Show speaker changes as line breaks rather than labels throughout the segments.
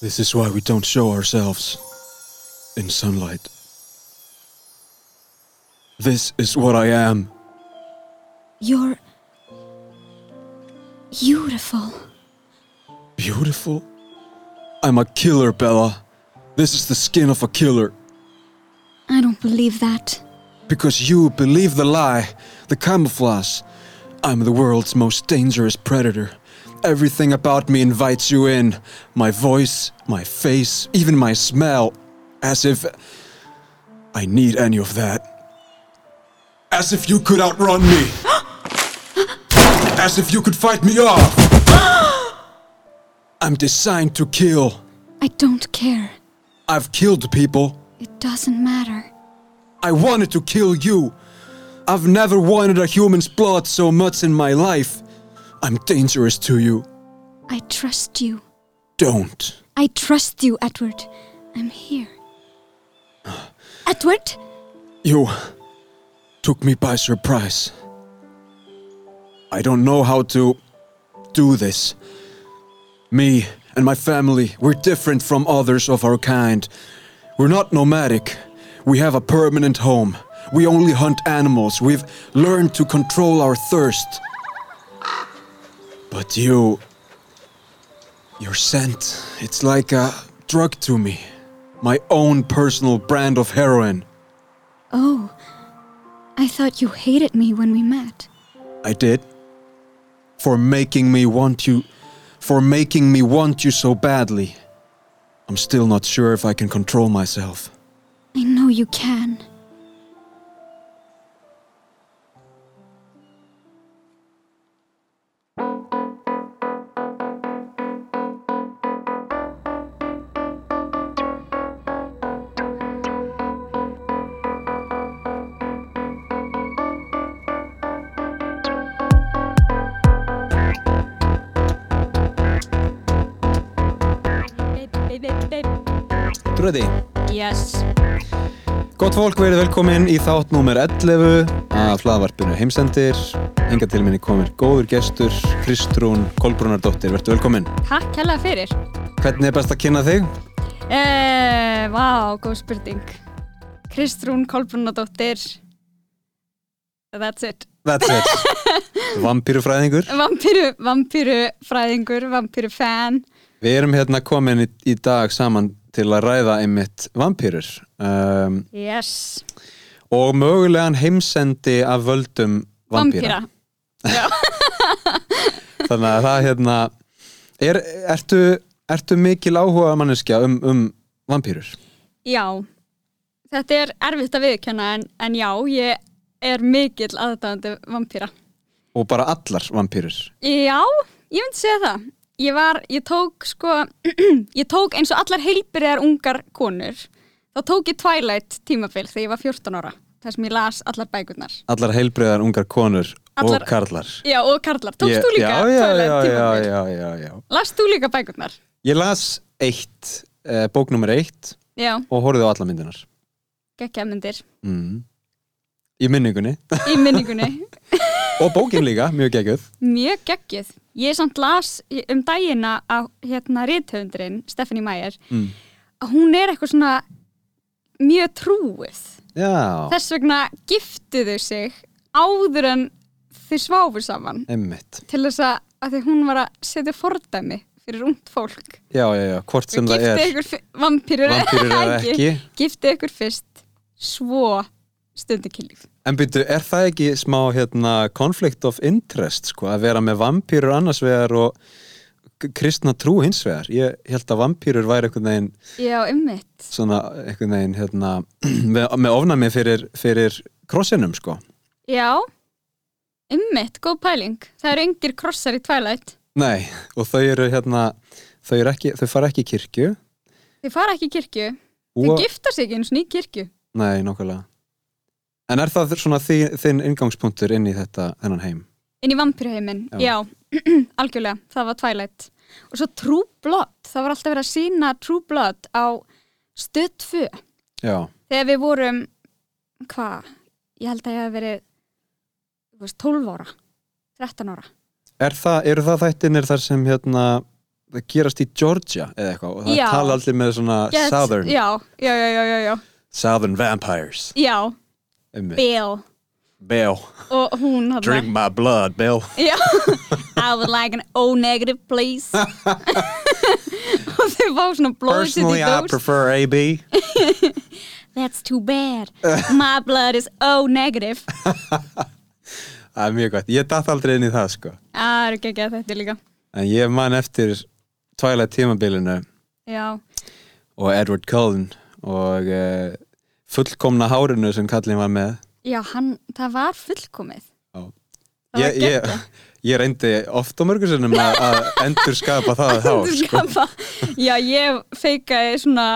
This is why we don't show ourselves in sunlight. This is what I am.
You're beautiful.
Beautiful? I'm a killer, Bella. This is the skin of a killer.
I don't believe that.
Because you believe the lie, the camouflage. I'm the world's most dangerous predator. Everything about me invites you in my voice, my face, even my smell. As if I need any of that. As if you could outrun me. As if you could fight me off. I'm designed to kill.
I don't care.
I've killed people.
It doesn't matter.
I wanted to kill you. I've never wanted a human's blood so much in my life. I'm dangerous to you.
I trust you.
Don't.
I trust you, Edward. I'm here. Edward?
You took me by surprise. I don't know how to do this. Me and my family, we're different from others of our kind. We're not nomadic. We have a permanent home. We only hunt animals. We've learned to control our thirst. But you. Your scent, it's like a drug to me. My own personal brand of heroin.
Oh, I thought you hated me when we met.
I did. For making me want you. For making me want you so badly. I'm still not sure if I can control myself.
I know you can.
Beip, beip, beip, beip.
Tröði.
Yes.
Gott fólk, verið velkomin í þátt númer 11 af hlaðvarpinu Heimsendir. Enga til minni komir góður gestur, Kristrún Kolbrunardóttir, verður velkomin.
Takk hella fyrir.
Hvernig er best að kynna þig?
Eh, vá, góð spurning. Kristrún Kolbrunadóttir. That's it.
That's it. Vampýrufræðingur.
Vampíru, vampíru fræðingur, vampíru fan.
Við erum hérna komin í, í dag saman til að ræða einmitt vampýrur um,
Yes.
og mögulegan heimsendi af völdum vampýra. Þannig að það hérna, er, ertu, ertu mikil áhuga manneskja um, um vampýrur?
Já. Þetta er erfitt að viðkjöna en, en já, ég er mikill aðdáðandi vampíra.
Og bara allar vampýrur?
Já, ég myndi segja það. Ég var, ég tók sko, ég tók eins og allar heilbyrðar ungar konur. Þá tók ég Twilight tímabil þegar ég var 14 ára. Þar sem ég las allar bækurnar.
Allar heilbreyðar ungar konur
Allar-
og karlar.
Já, og Karlar. Tókst
Ég-
þú líka
já, já,
Twilight
já, já,
tímabil?
já, já, já.
Last þú líka bækurnar?
Ég las eitt, eh, bók nummer eitt
Já,
og horfði á alla myndunar.
gekkja myndir.
Mm. Í minningunni.
Í minningunni.
og bókin líka, mjög geggjöð.
Mjög geggjuð. Ég samt las um dagina að hérna rithöfundurinn, Stephanie Meyer,
Mm.
að hún er eitthvað svona mjög trúið.
Já,
Þess vegna giftu þau sig áður en þau sváfu saman
emmitt.
til þess að, að því hún var að setja fordæmi fyrir ungt fólk.
Já, já, já, hvort sem það
giftu
er.
ykkur fyr- vampírur
Vampýrur eða ekki.
Giftu ykkur fyrst, svo stundukillíf.
En byrju, er það ekki smá hérna, conflict of interest, sko, að vera með vampýrur annars vegar og k- kristna trú hins vegar? Ég held að vampýrur væri einhvern veginn,
Já, ummitt.
svona, einhvern veginn, hérna, með, með ofnami fyrir, fyrir krossinum, sko.
Já, ummitt, góð pæling. Það eru engir krossar í Twilight.
Nei, og þau eru hérna, þau, eru ekki, þau fara ekki í kirkju.
Þau fara ekki í kirkju. Þau
Og,
gifta sig ekki eins og ný kirkju.
nei, nokkulega. En er það svona þín, þinn ingangspunktur inn í þetta, þennan heim?
Inn í vampirheiminn, já. Algjörlega, það var Twilight. Og svo True Blood, það var alltaf verið að sína True Blood á stöð 2.
Já,
Þegar við vorum, hvað, ég held að ég hef verið þú veist, 12 ára, 13 ára.
er það, eru það þættinir þar sem hérna það gerast í Georgia eða eitthvað og það
Já.
tala allir með svona
Get-
southern,
já, já, já, já, já, já,
southern vampires
já
um,
Bill
Bill,
og hún hann
drink my blood Bill
Já, I would like an O negative please og þau fá svona blóðið sitt í
personally I
dós
prefer AB
That's too bad My blood is O negative
það er mjög gott, ég datt aldrei inn í það sko
Ah, Það eru ekki að þetta líka
en ég man eftir Twilight tímabilinu
Já,
og Edward Cullen og uh, fullkomna hárinu sem kallin var með
já hann, það var fullkomið
Já.
Það var
ég, ég,
geggjað.
ég reyndi oft á mörgursunum að að endurskapa það hár
Þú
sko.
skapa Já, ég feikaði svona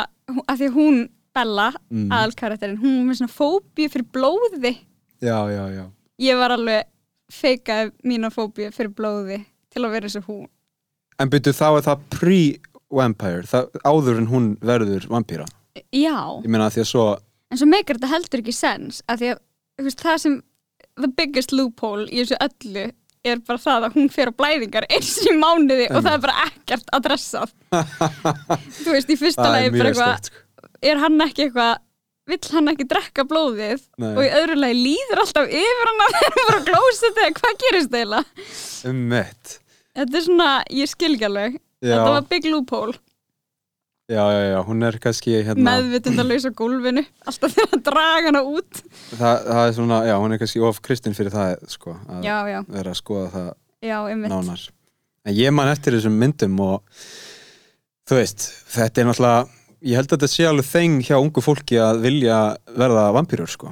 að því að hún Bella, mm. aðalkarakterinn hún var með svona fóbíu fyrir blóði
sko. já, já, já
ég var alveg feikaði mína fóbíu fyrir blóði til að vera eins og hún
En byrju þá er það pre-vampire það- áður en hún verður vampíra
Já,
Ég meina að því að svo
en svo meikar þetta heldur ekki sens að því að þú veist, það sem the biggest loophole í þessu öllu er bara það að hún fer á blæðingar eins í mánuði og það er bara ekkert að dressað Þú veist, í fyrsta
það
lagi
er
bara
mjög
eitthvað
stort
er hann ekki eitthvað vill hann ekki drekka blóðið
Nei.
og í öðru lagi líður alltaf yfir hann að þeir voru að glósa þetta, hvað gerist þeila
Um mitt
þetta er svona, ég skil ekki alveg
Já.
þetta var big loophole,
Já, já, já, hún er kannski hérna
meðvitundalaus á gólfinu alltaf þegar að draga hana út
það, það er svona, já, hún er kannski of kristin fyrir það sko, að
já, já,
vera að skoða það
já, einmitt
nánar en ég man eftir þessum myndum og þú veist, þetta er náttúrulega ég held að þetta sé alveg þeng hjá ungu fólki að vilja verða vampýrur sko.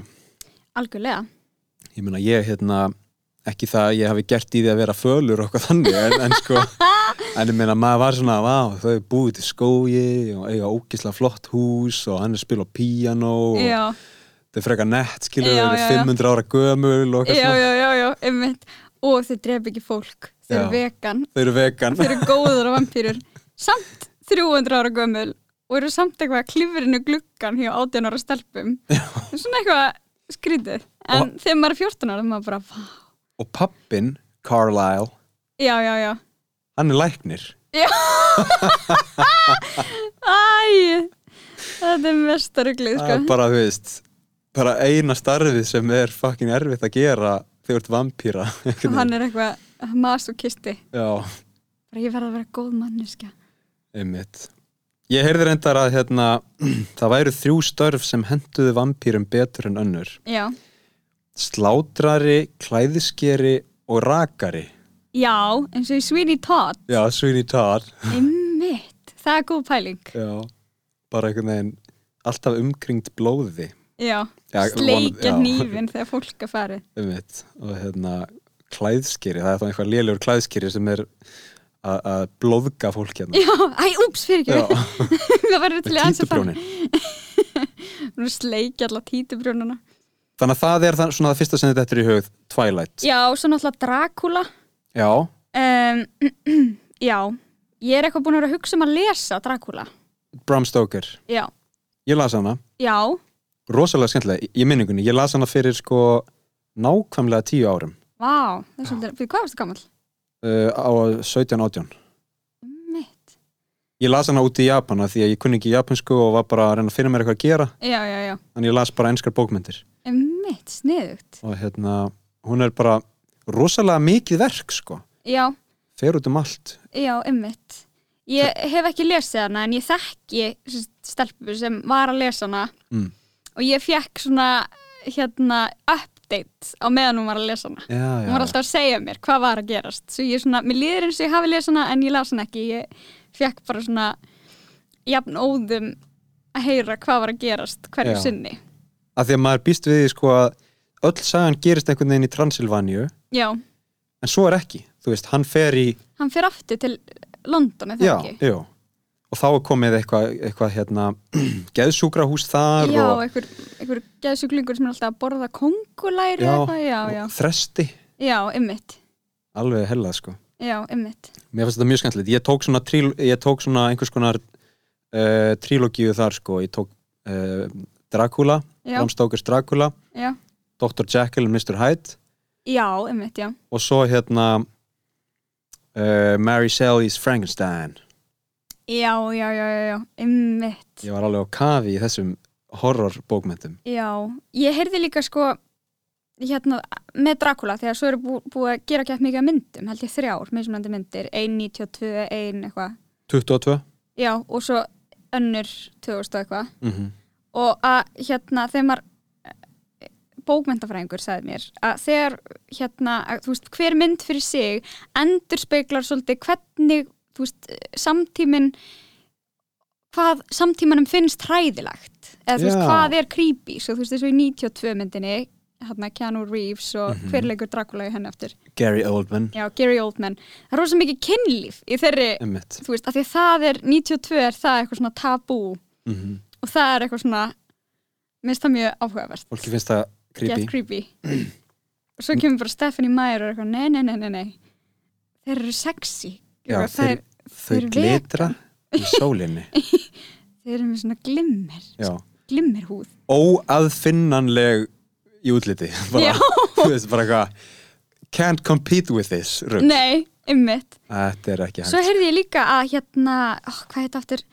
algjörlega,
ég meina ég hérna ekki það að ég hafi gert í því að vera fölur og eitthvað þannig en, en sko en ég meina maður var svona, vá, þau er búið til skói og eiga ógislega flott hús og hann er að spila á píanó og
já,
þau er frekar nett, skilur þau
Já, já,
eru
já.
500 ára gömul og eitthvað
já,
svona
já, já, já einmitt, og þau dref ekki fólk þau eru
Já.
vegan,
þau eru vegan
þau eru góður á vampýrur samt 300 ára gömul og eru samt eitthvað að klifrinu gluggan hjá 18 ára stelpum svona eitthvað skrítið en þegar maður er 14 ára þá er maður bara "Vá."
og pappin, Carlisle
já, já, já
hann er læknir
Æ, þetta er mestaruglið
það
sko.
er bara, þú veist bara eina starfið sem er fucking erfitt að gera þegar þú ert vampýra
og hann er eitthvað masokisti
já,
bara ég verð að vera góð manniska
einmitt ég heyrði reyndar að hérna það væru þrjú störf sem henduðu vampýrum betur en önnur
já,
slátrari, klæðiskeri og rakari
já eins og í Sweeney Todd
já, Sweeney Todd
einmitt, það er góð pæling
já, bara einhvern veginn alltaf umkringt blóði
já,
Já,
sleikja
von- já.
nýfin þegar fólk er farið
einmitt og hérna klæðskeri, það er þá einhver lélegur klæðskeri sem er að að blóðga fólk hérna
já, æ, úps, fyrir
Já,
ekki það var
með
til að ansa það
títuprjónin
Nú sleikja alla títubrjónuna
Þannig að það er það, svona það fyrsta sem þetta eftir í hug Twilight
Já, svo náttúrulega Dracula
Já,
um, Já, ég er eitthvað búin að vera að hugsa um að lesa Dracula
Bram Stoker
Já,
Ég las hana,
já,
rosalega skemmtilega í- í minningunni, ég las hana fyrir sko nákvæmlega tíu árum
vá Það er svolítið, fyrir hvað varstu gamall?
uh, á 17-18
Mitt
Ég las hana úti í Japana því að ég kunni ekki japansku og var bara að reyna að finna mér eitthvað að gera
Já, já, já,
en ég las bara enskar bókmyndir
mitt, sniðugt
og hérna, hún er bara rosalega mikið verk sko
Já,
fer út um allt
já, mitt Ég hef ekki lesið hana en ég þekki sem sagt, stelpu sem var að lesa hana
Mm.
og ég fekk svona hérna update á meðan hún var að lesa hana
Já, já,
hún var alltaf að segja mér hvað var að gerast svo ég svona, mér líður eins og ég hafi lesið hana en ég las hana ekki, ég fekk bara svona jafn óðum að heyra hvað var að gerast hverju
Já.
sinni
að því að maður býst við því sko að öll sagan gerist einhvern veginn í Transilvaníu
já,
en svo er ekki, þú veist, hann fer í
hann fer aftur til London eða
já,
ekki
já. og þá er komið eitthvað eitthva, hérna, geðsúkrahús þar
já,
og,
einhver, einhver geðsuglingur sem er alltaf að borða kongulæri
Já,
eitthvað, já, já,
og þresti
já, ymmit
alveg hella sko
já, ymmit,
mér finnst þetta mjög skemmtilegt, ég tók svona, tríl, ég tók svona einhvers konar uh, trílogíu þar sko, ég tók uh, Dracula,
Já.
Bram Stokers Dracula
já
Dr. Jekyll and Mr. Hyde
já, ymmit, já,
og svo hérna uh, Mary Shelley's eh, Frankenstein
já, já, já, já, já, einmitt
Ég var alveg á kafi í þessum horrorbókmyndum.
já, ég heyrði líka sko hérna, með Dracula þegar svo eru bú, búið að gera gett mikið af myndum held ég þrjár, mismunandi myndir 1.92, 1 eitthvað
22?
já, og svo önnur 2000 og eitthvað
Mm
og að hérna þegar maður bókmentafræðingur sagði mér að þegar hérna að, þú veist, hver mynd fyrir sig endur speiklar svolítið hvernig þú veist, samtímin hvað samtímanum finnst hræðilegt eða þú veist,
Já.
hvað er creepy svo þú veist, þessu í 92 myndinni hérna Keanu Reeves og
Mhm.
hver leikur Dracula í henni eftir,
Gary Oldman.
já, Gary Oldman það er rosa mikið kynlíf í þeirri
Emmett.
þú veist, af því að það er 92 er það eitthvað svona tabú
Mm
og það er eitthvað svona minnst það mjög áhugavert
Fólki finnst það creepy.
Get creepy. og svo kemur bara Stephanie Meyer og er eitthvað, nei, nei, nei, nei, nei þeir eru sexy
Já,
Eitthvað, þeir,
þeir- Þau
Þeir
glitra í sólinni.
þeir eru með svona glimmer
Já.
glimmerhúð
Óaðfinnanleg í útliti. Bara,
Já.
Þú veist bara eitthvað, can't compete with this. Rugg.
nei, ymmit
Þetta er ekki
svo
hægt.
heyrði ég líka að hérna oh, hvað heit aftur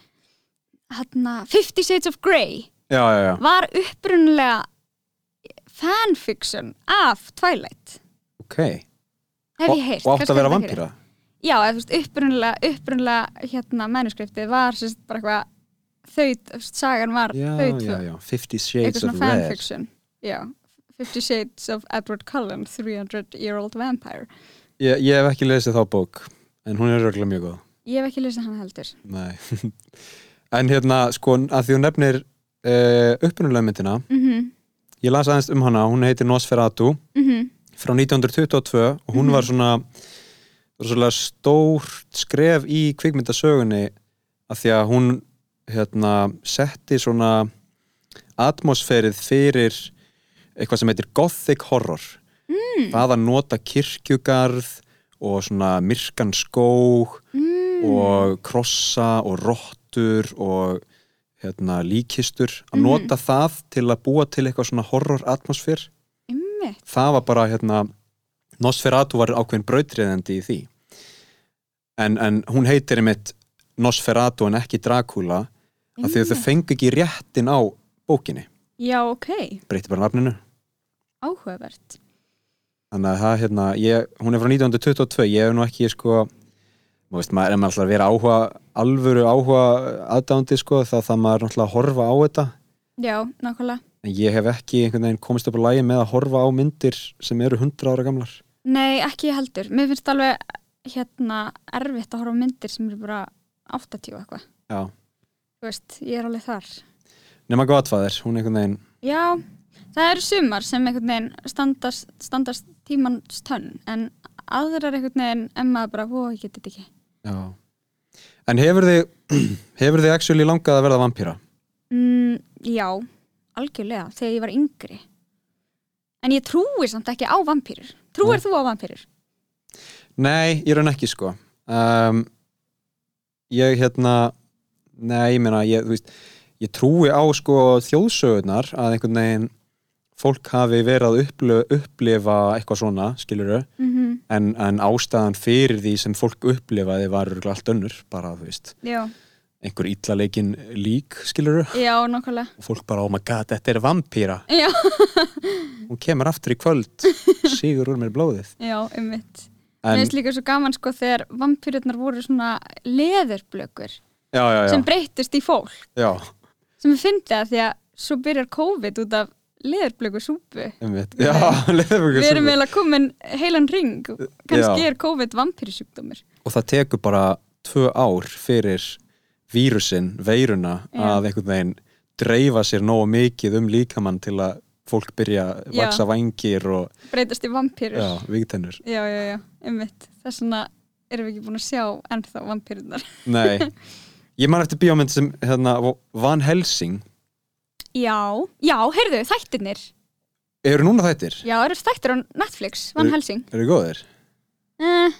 hérna, Fifty Shades of Grey
Já, já, já.
var upprunlega fanfiction af Twilight
Ok.
hef
Og-
ég heyrt
Og átt
kannski
að vera
er þetta ekki
vampýra.
Já, eða þú veist, upprunlega, upprunlega hérna, manuskriptið var sérst bara eitthvað þau, þú veist, sagan var
Já,
þau tvö,
já, já. Fifty
eitthvað
Shades of
svona
Red.
fanfiction Já, Fifty Shades of Edward Cullen 300 Year Old Vampire
Ég, ég hef ekki lesið þá bók, en hún er röglega mjög góð.
Ég hef ekki lesið hann heldur
Nei. en hérna, sko, að því hún nefnir uh, upprunulega myndina,
mm -hmm.
ég las aðeins um hana, hún heitir Nosferatu frá 1922 og hún
Mhm.
var svona rosalega stórt skref í kvikmyndasögunni að því að hún hérna, setti svona atmosfærið fyrir eitthvað sem heitir gothic horror mm. það að nota kirkjugarð og svona myrkan skóg
mm.
og krossa og rottur og hérna, líkistur að
Mhm.
nota það til að búa til eitthvað svona horror atmosfér
Einmitt,
það var bara hérna Nosferatu var ákveðin brautriðandi í því en, en hún heitir einmitt Nosferatu en ekki Dracula af því að þau
einmitt.
fengu ekki réttin á bókinni,
Já, ok,
breytti bara nafninu
áhugavert
þannig að það hérna, ég, hún er frá 1922 ég hef nú ekki sko þú veist, maður, ef maður ætlar að vera áhuga alvöru áhuga aðdándi sko þá það maður náttúrulega að horfa á þetta
Já, nákvæmlega
en ég hef ekki einhvern veginn komist upp á lægi með að horfa á myndir sem eru 100 ára gamlar
Nei, ekki ég heldur, mér finnst alveg hérna erfitt að horfa á myndir sem eru bara 80 og eitthvað
já,
Þú veist, ég er alveg þar
nema Godfather, hún einhvern veginn
Já, það eru sumar sem einhvern veginn standast, standast tímans tönn en aðrar einhvern veginn emma bara, ó, ég geti þetta ekki.
Já. En hefur þið, hefur þið actually langað að verða vampýra?
Mm, já, algjörlega, þegar ég var yngri. En ég trúi samt ekki á vampýrur. Trúir þú á vampýrur?
Nei, ég raun ekki sko. Um, ég hérna, nei, ég meina, ég, þú veist, ég trúi á sko þjóðsögurnar að einhvern veginn fólk hafi verið að upplö- upplifa eitthvað svona, skilurðu,
Mm -hmm.
en, en ástæðan fyrir því sem fólk upplifaði var örugglega allt önnur, bara, þú veist,
Já,
einhver illaleikin lík, skilurðu,
já, nokkulega.
og fólk bara, oh my god, þetta er vampýra.
Já,
hún kemur aftur í kvöld sígur úr mér blóðið
já, um mitt. Mér
en,
finnst líka svo gaman sko þegar vampýrurnar voru svona leðurblökur
já, já, já,
sem breyttust í fólk.
já
Sem ég fyndi það því að svo byrjar COVID út af leðurblöku súpu.
einmitt. já leðurblökur
Við erum
súpu.
eiginlega komin heilan ring kannski
Já.
er COVID vampýrisjúkdómur
og það tekur bara tvö ár fyrir vírusin, veiruna
Já.
að einhvern veginn dreifa sér nógu mikið um líkamann til að fólk byrja að
Já.
vaksa vængir og
breytast í vampýrur
já, vígtennur
já, já, já, einmitt þess vegna erum við ekki búin að sjá ennþá vampýrunar
nei, ég man eftir bíómynd sem hérna, Van Helsing
Já, já, heyrðu, þættirnir
eru núna þættir?
Já, eru þættir á Netflix, Van
Eru-
Helsing
eru góðir?
eh,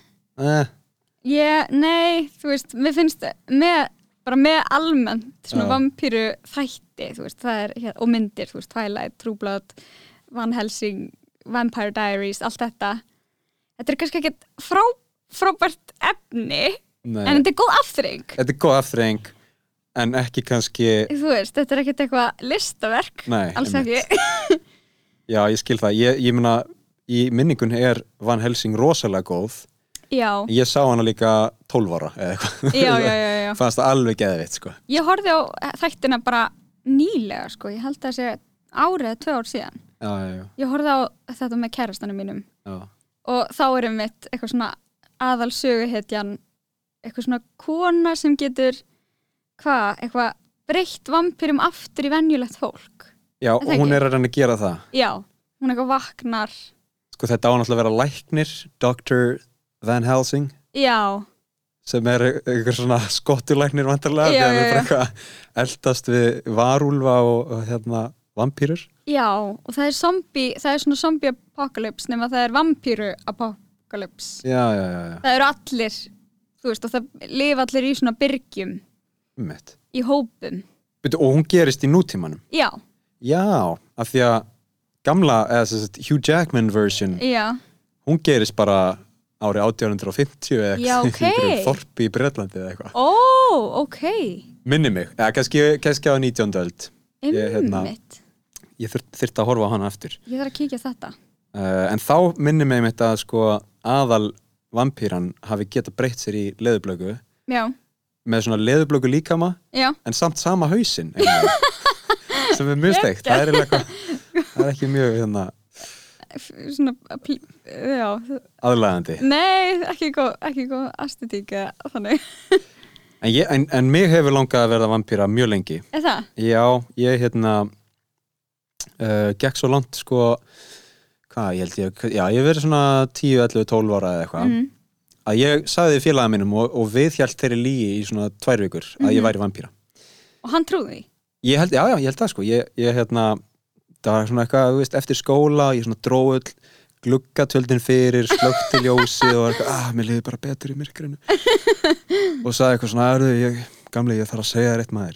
Eh,
Ég, nei, þú veist, mér finnst með, bara með almennt svona
Já.
vampýru þætti þú veist, það er, hér, og myndir, þú veist, Twilight, True Blood Van Helsing Vampire Diaries, allt þetta Þetta er kannski ekkert frá, frábært efni
Nei.
en þetta er góð aftreng
Þetta er góð afþreying en ekki kannski,
þú veist, þetta er ekkert eitthvað listaverk
Eh. Nei,
alls
einmitt.
ekki
já ég skil það ég, ég meina, í minningun er Van Helsing rosalega góð
já,
ég sá hana líka 12 ára eða eitthvað
já, já, já, já.
fannst það alveg geðvitt sko
ég horfði á þættina bara nýlega sko, ég held að það sé árið eða tvö ár síðan
já, já, já,
ég horfði á þetta með kærastanum mínum
já.
og þá erum mitt eitthvað svona aðal söguhetjan eitthvað svona kona sem getur hvað, eitthvað breytt vampýrum aftur í venjulegt fólk
já
Er
og
það
hún
ekki?
er að reyna að gera það
já, hún eitthvað vaknar
sko þetta á náttúrulega að vera læknir Dr. Van Helsing
já,
sem er einhver svona skottulæknir vantarlega
Já,
þegar við
já,
bara eitthvað eldast við varúlfa og, og hérna vampýrur
já og það er zombie, það er svona zombie apocalypse nema það er vampýru apocalypse
já, já, já, já,
það eru allir, þú veist og það lifa allir í svona byrgjum
mitt
í hópum,
og hún gerist í nútímanum
já,
Já, af því að gamla, eða sem sagt, Hugh Jackman version,
já
hún gerist bara árið 1850 eða
Já,
eitthvað,
ok.
í einhverju þorpi í Bretlandi eða eitthvað.
ó, ok
Minni mig, eða kannski, kannski á 19. öld. Ég, hérna-
einmitt,
Ég þurft, þurft að horfa á hana aftur.
ég þarf að kíkja á þetta
Uh, en þá minni mig mitt að sko aðal vampýran hafi geta breytt sér í leðublöku
já,
með svona leðublöku líkama
já
en samt sama hausinn einhvern veginn. sem er mjög steikt það er, eiginlega eitthvað- það er ekki mjög hérna,
f- svona pl- já,
aðlægandi
nei, ekki góð, ekki góð astetík eða þannig,
en, ég, en, en mig hefur langað að verða vampýra mjög lengi
er það?
Já, ég hérna uh, gekk svo langt sko hvað, ég held ég, já, ég hef verið svona 10, 11, 12 ára eða eitthvað
Mhm.
að ég sagði félaga mínum og, og við hjælt þeirri lígi í svona tvær vikur að ég
Mhm.
væri vampíra.
og hann trúði því?
Ég held, já, já, ég held það sko ég, ég hérna, það var svona eitthvað þú veist, eftir skóla, ég svona dróull gluggatöldin fyrir, slökti ljósið og eitthvað, að, mér liði bara betur í myrkrinu og sagði eitthvað svona erðu, ég, gamli, ég þarf að segja þér eitt maður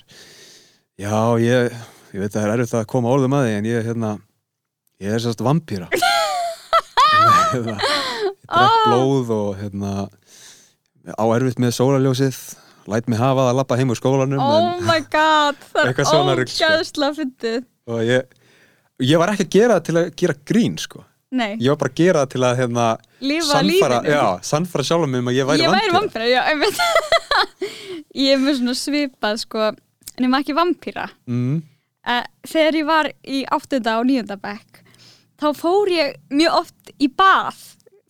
já, ég ég veit að það er erfitt að koma orðum að því en ég, hérna, ég er sérst vampýra hérna, ég drekk blóð og hérna á erfitt með sólarljósið læt mig hafa það að lappa heim úr skólanum en,
oh my god, það er
Eitthvað svona rugl, sko.
ógæðsla fyndið
og ég, ég var ekki að gera það til að gera grín sko.
nei,
ég var bara að gera það til að hérna,
lifa
sannfara,
lífinu
já, sannfara sjálfum mig um að ég væri
ég væri
vampíra
vampýra, já, einmitt ég er með svona svipað sko, nema ekki vampýra
mm,
Eh, þegar ég var í áttunda og níunda bekk þá fór ég mjög oft í bað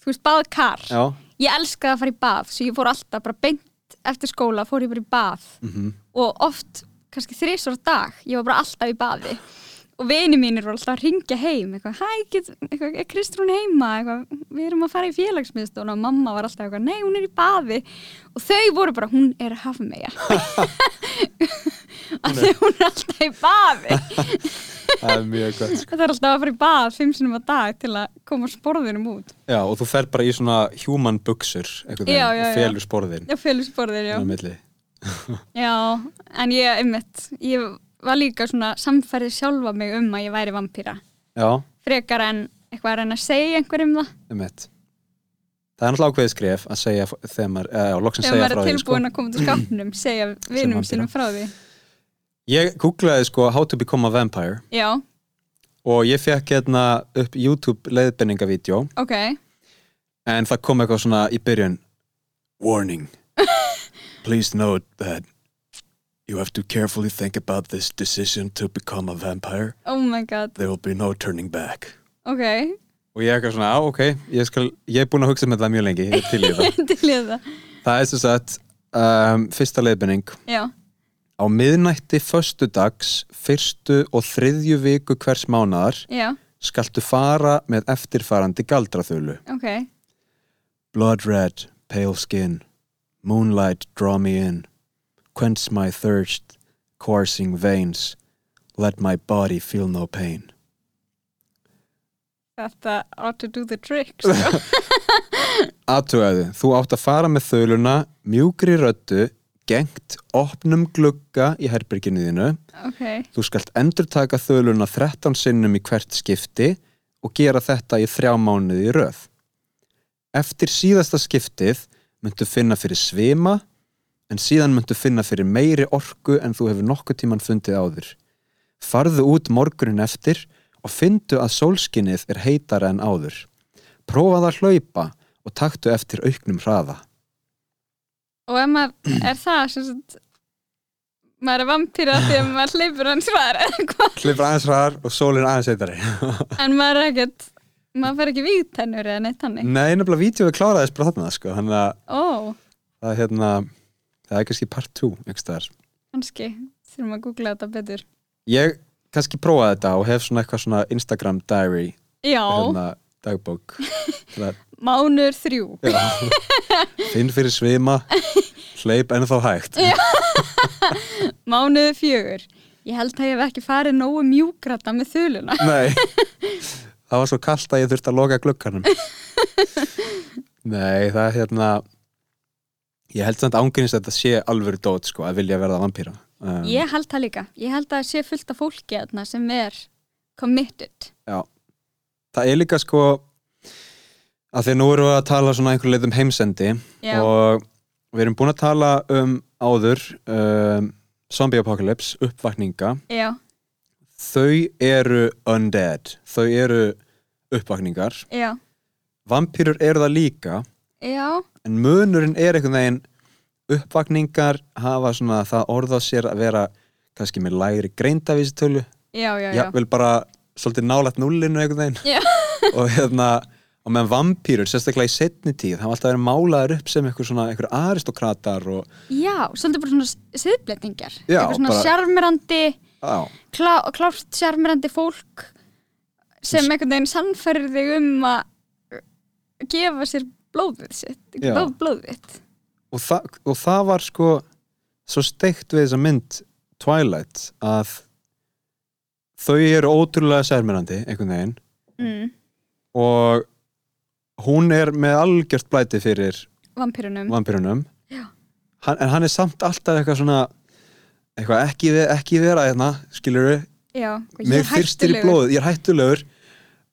þú veist, baðkar
já,
ég elskaði að fara í bað svo ég fór alltaf bara beint eftir skóla fór ég bara í bað
mhm,
og oft, kannski þrísvara dag ég var bara alltaf í baði og vini mínir voru alltaf að ringja heim eitthvað, hæ, get, eitthvað, er Kristrún heima eitthvað, við erum að fara í félagsmiðstofn og mamma var alltaf eitthvað, nei, hún er í baði og þau voru bara, hún er að hafa mig að því hún er alltaf í baði
það er mjög gott sko.
það er alltaf að fara í bað fimm sinum að dag til að koma sporðinum út
já, og þú fer bara í svona human buksur
Já, já,
og
já.
felur sporðin
já, félagsborðin, já
á milli.
Já, en ég, einmitt, ég var líka svona samfærið sjálfa mig um að ég væri vampýra.
já,
Frekar en eitthvað að reyna að segja einhverjum það.
emitt það er náttúrulega ákveðið skref að segja f- þegar maður, eh, já, loksin
Þegar
segja
maður
frá því
er
sko.
tilbúin að koma til skapnum, segja vinum
vampíra.
sínum frá því.
ég googlaði sko how to become a vampire
Já,
og ég fekk hérna upp YouTube leiðbenningavídeó
ok.
En það kom eitthvað svona í byrjun Warning Please note that You have to carefully think about this decision to become a vampire
Oh my god,
There will be no turning back
ok.
Og ég er eitthvað svona, á ok, ég, skal, ég er búin að hugsa með það mjög lengi, ég er til í það
Til ég það.
Það er sem sagt, um, fyrsta leiðbynning
Já,
Á miðnætti föstudags, fyrstu og þriðju viku hvers mánaðar
já,
skaltu fara með eftirfarandi galdraþölu
ok.
Blood red, pale skin, moonlight draw me in, quench my thirst, coursing veins, let my body feel no pain.
Þetta ought to do the trick, sko.
Aðtöðu, þú átt að fara með þöluna, mjúkri röddu, gengt, opnum glugga í herbyrginu þínu.
ok,
Þú skalt endurtaka þöluna 13 sinnum í hvert skipti og gera þetta í þrjá mánuði í röð. Eftir síðasta skiptið myndu finna fyrir svima en síðan myndu finna fyrir meiri orku en þú hefur nokkuð tíman fundið áður. Farðu út morgunin eftir og fyndu að sólskinnið er heitara en áður. Prófaðu að hlaupa og taktu eftir auknum hraða.
og ef maður er það sem sagt, maður er vampýra því að maður hleypur hans hraðar eða hvað,
Hlifra aðeins hraðar og sólinn aðeins heitari.
en maður er ekkert maður fer ekki vígtennur eða neitt hannig
Nei, nefnilega vídeo er kláraðist bara þarna, sko, þannig að
ó,
það er hérna, það er kannski part 2, einhvers staðar.
kannski þurfum að googla þetta betur
Ég kannski prófaði þetta og hef svona eitthvað svona Instagram diary,
já,
hérna, dagbók. til að
mánur þrjú
Finn fyrir svima, hleyp ennþá hægt.
mánuðu fjögur ég held að ég hef ekki farið nógu mjúkrata með þuluna
Nei, það var svo kallt að ég þurfti að loka glugganum. Nei, það er hérna, ég held samt ángrins að þetta sé alvöru dót, sko, að vilja verða vampíra. Um,
ég held það líka, ég held að það sé fullt af fólki þarna sem er committed
Já, það er líka sko að því að nú erum við að tala svona einhver leið um heimsendi
já,
og við erum búin að tala um áður um, zombie apocalypse, uppvakninga
já,
þau eru undead þau eru uppvakningar
já,
vampýrur eru það líka
já
en munurinn er einhvern veginn uppvakningar hafa svona það orða sér að vera kannski með lægri greindavísitölu
já, já, já,
jafnvel bara svolítið nálægt núllinu einhvern
Já.
veginn og hérna og meðan vampýrur, sérstaklega í setni tíð það var alltaf verið málaður upp sem einhver svona einhver aristokratar og
já svolítið bara svona siðblettingar
Já,
eitthvað svona
bara-
sjarmirandi
á,
klá, klárt sjarmirandi fólk sem einhvern veginn sannfærir þig um að gefa sér blóðið sitt
Já.
blóð, blóðið
og, þa og það var sko svo steikt við þessa mynd Twilight að þau eru ótrúlega sérmyrandi einhvern veginn
mm,
og hún er með algjört blæti fyrir
vampirunum
vampirunum hann, en hann er samt alltaf eitthvað svona eitthvað ekki, ve- ekki vera hérna skilur við
já, og ég
mér
er
fyrstir í
hættulegur.
blóð, ég er hættulegur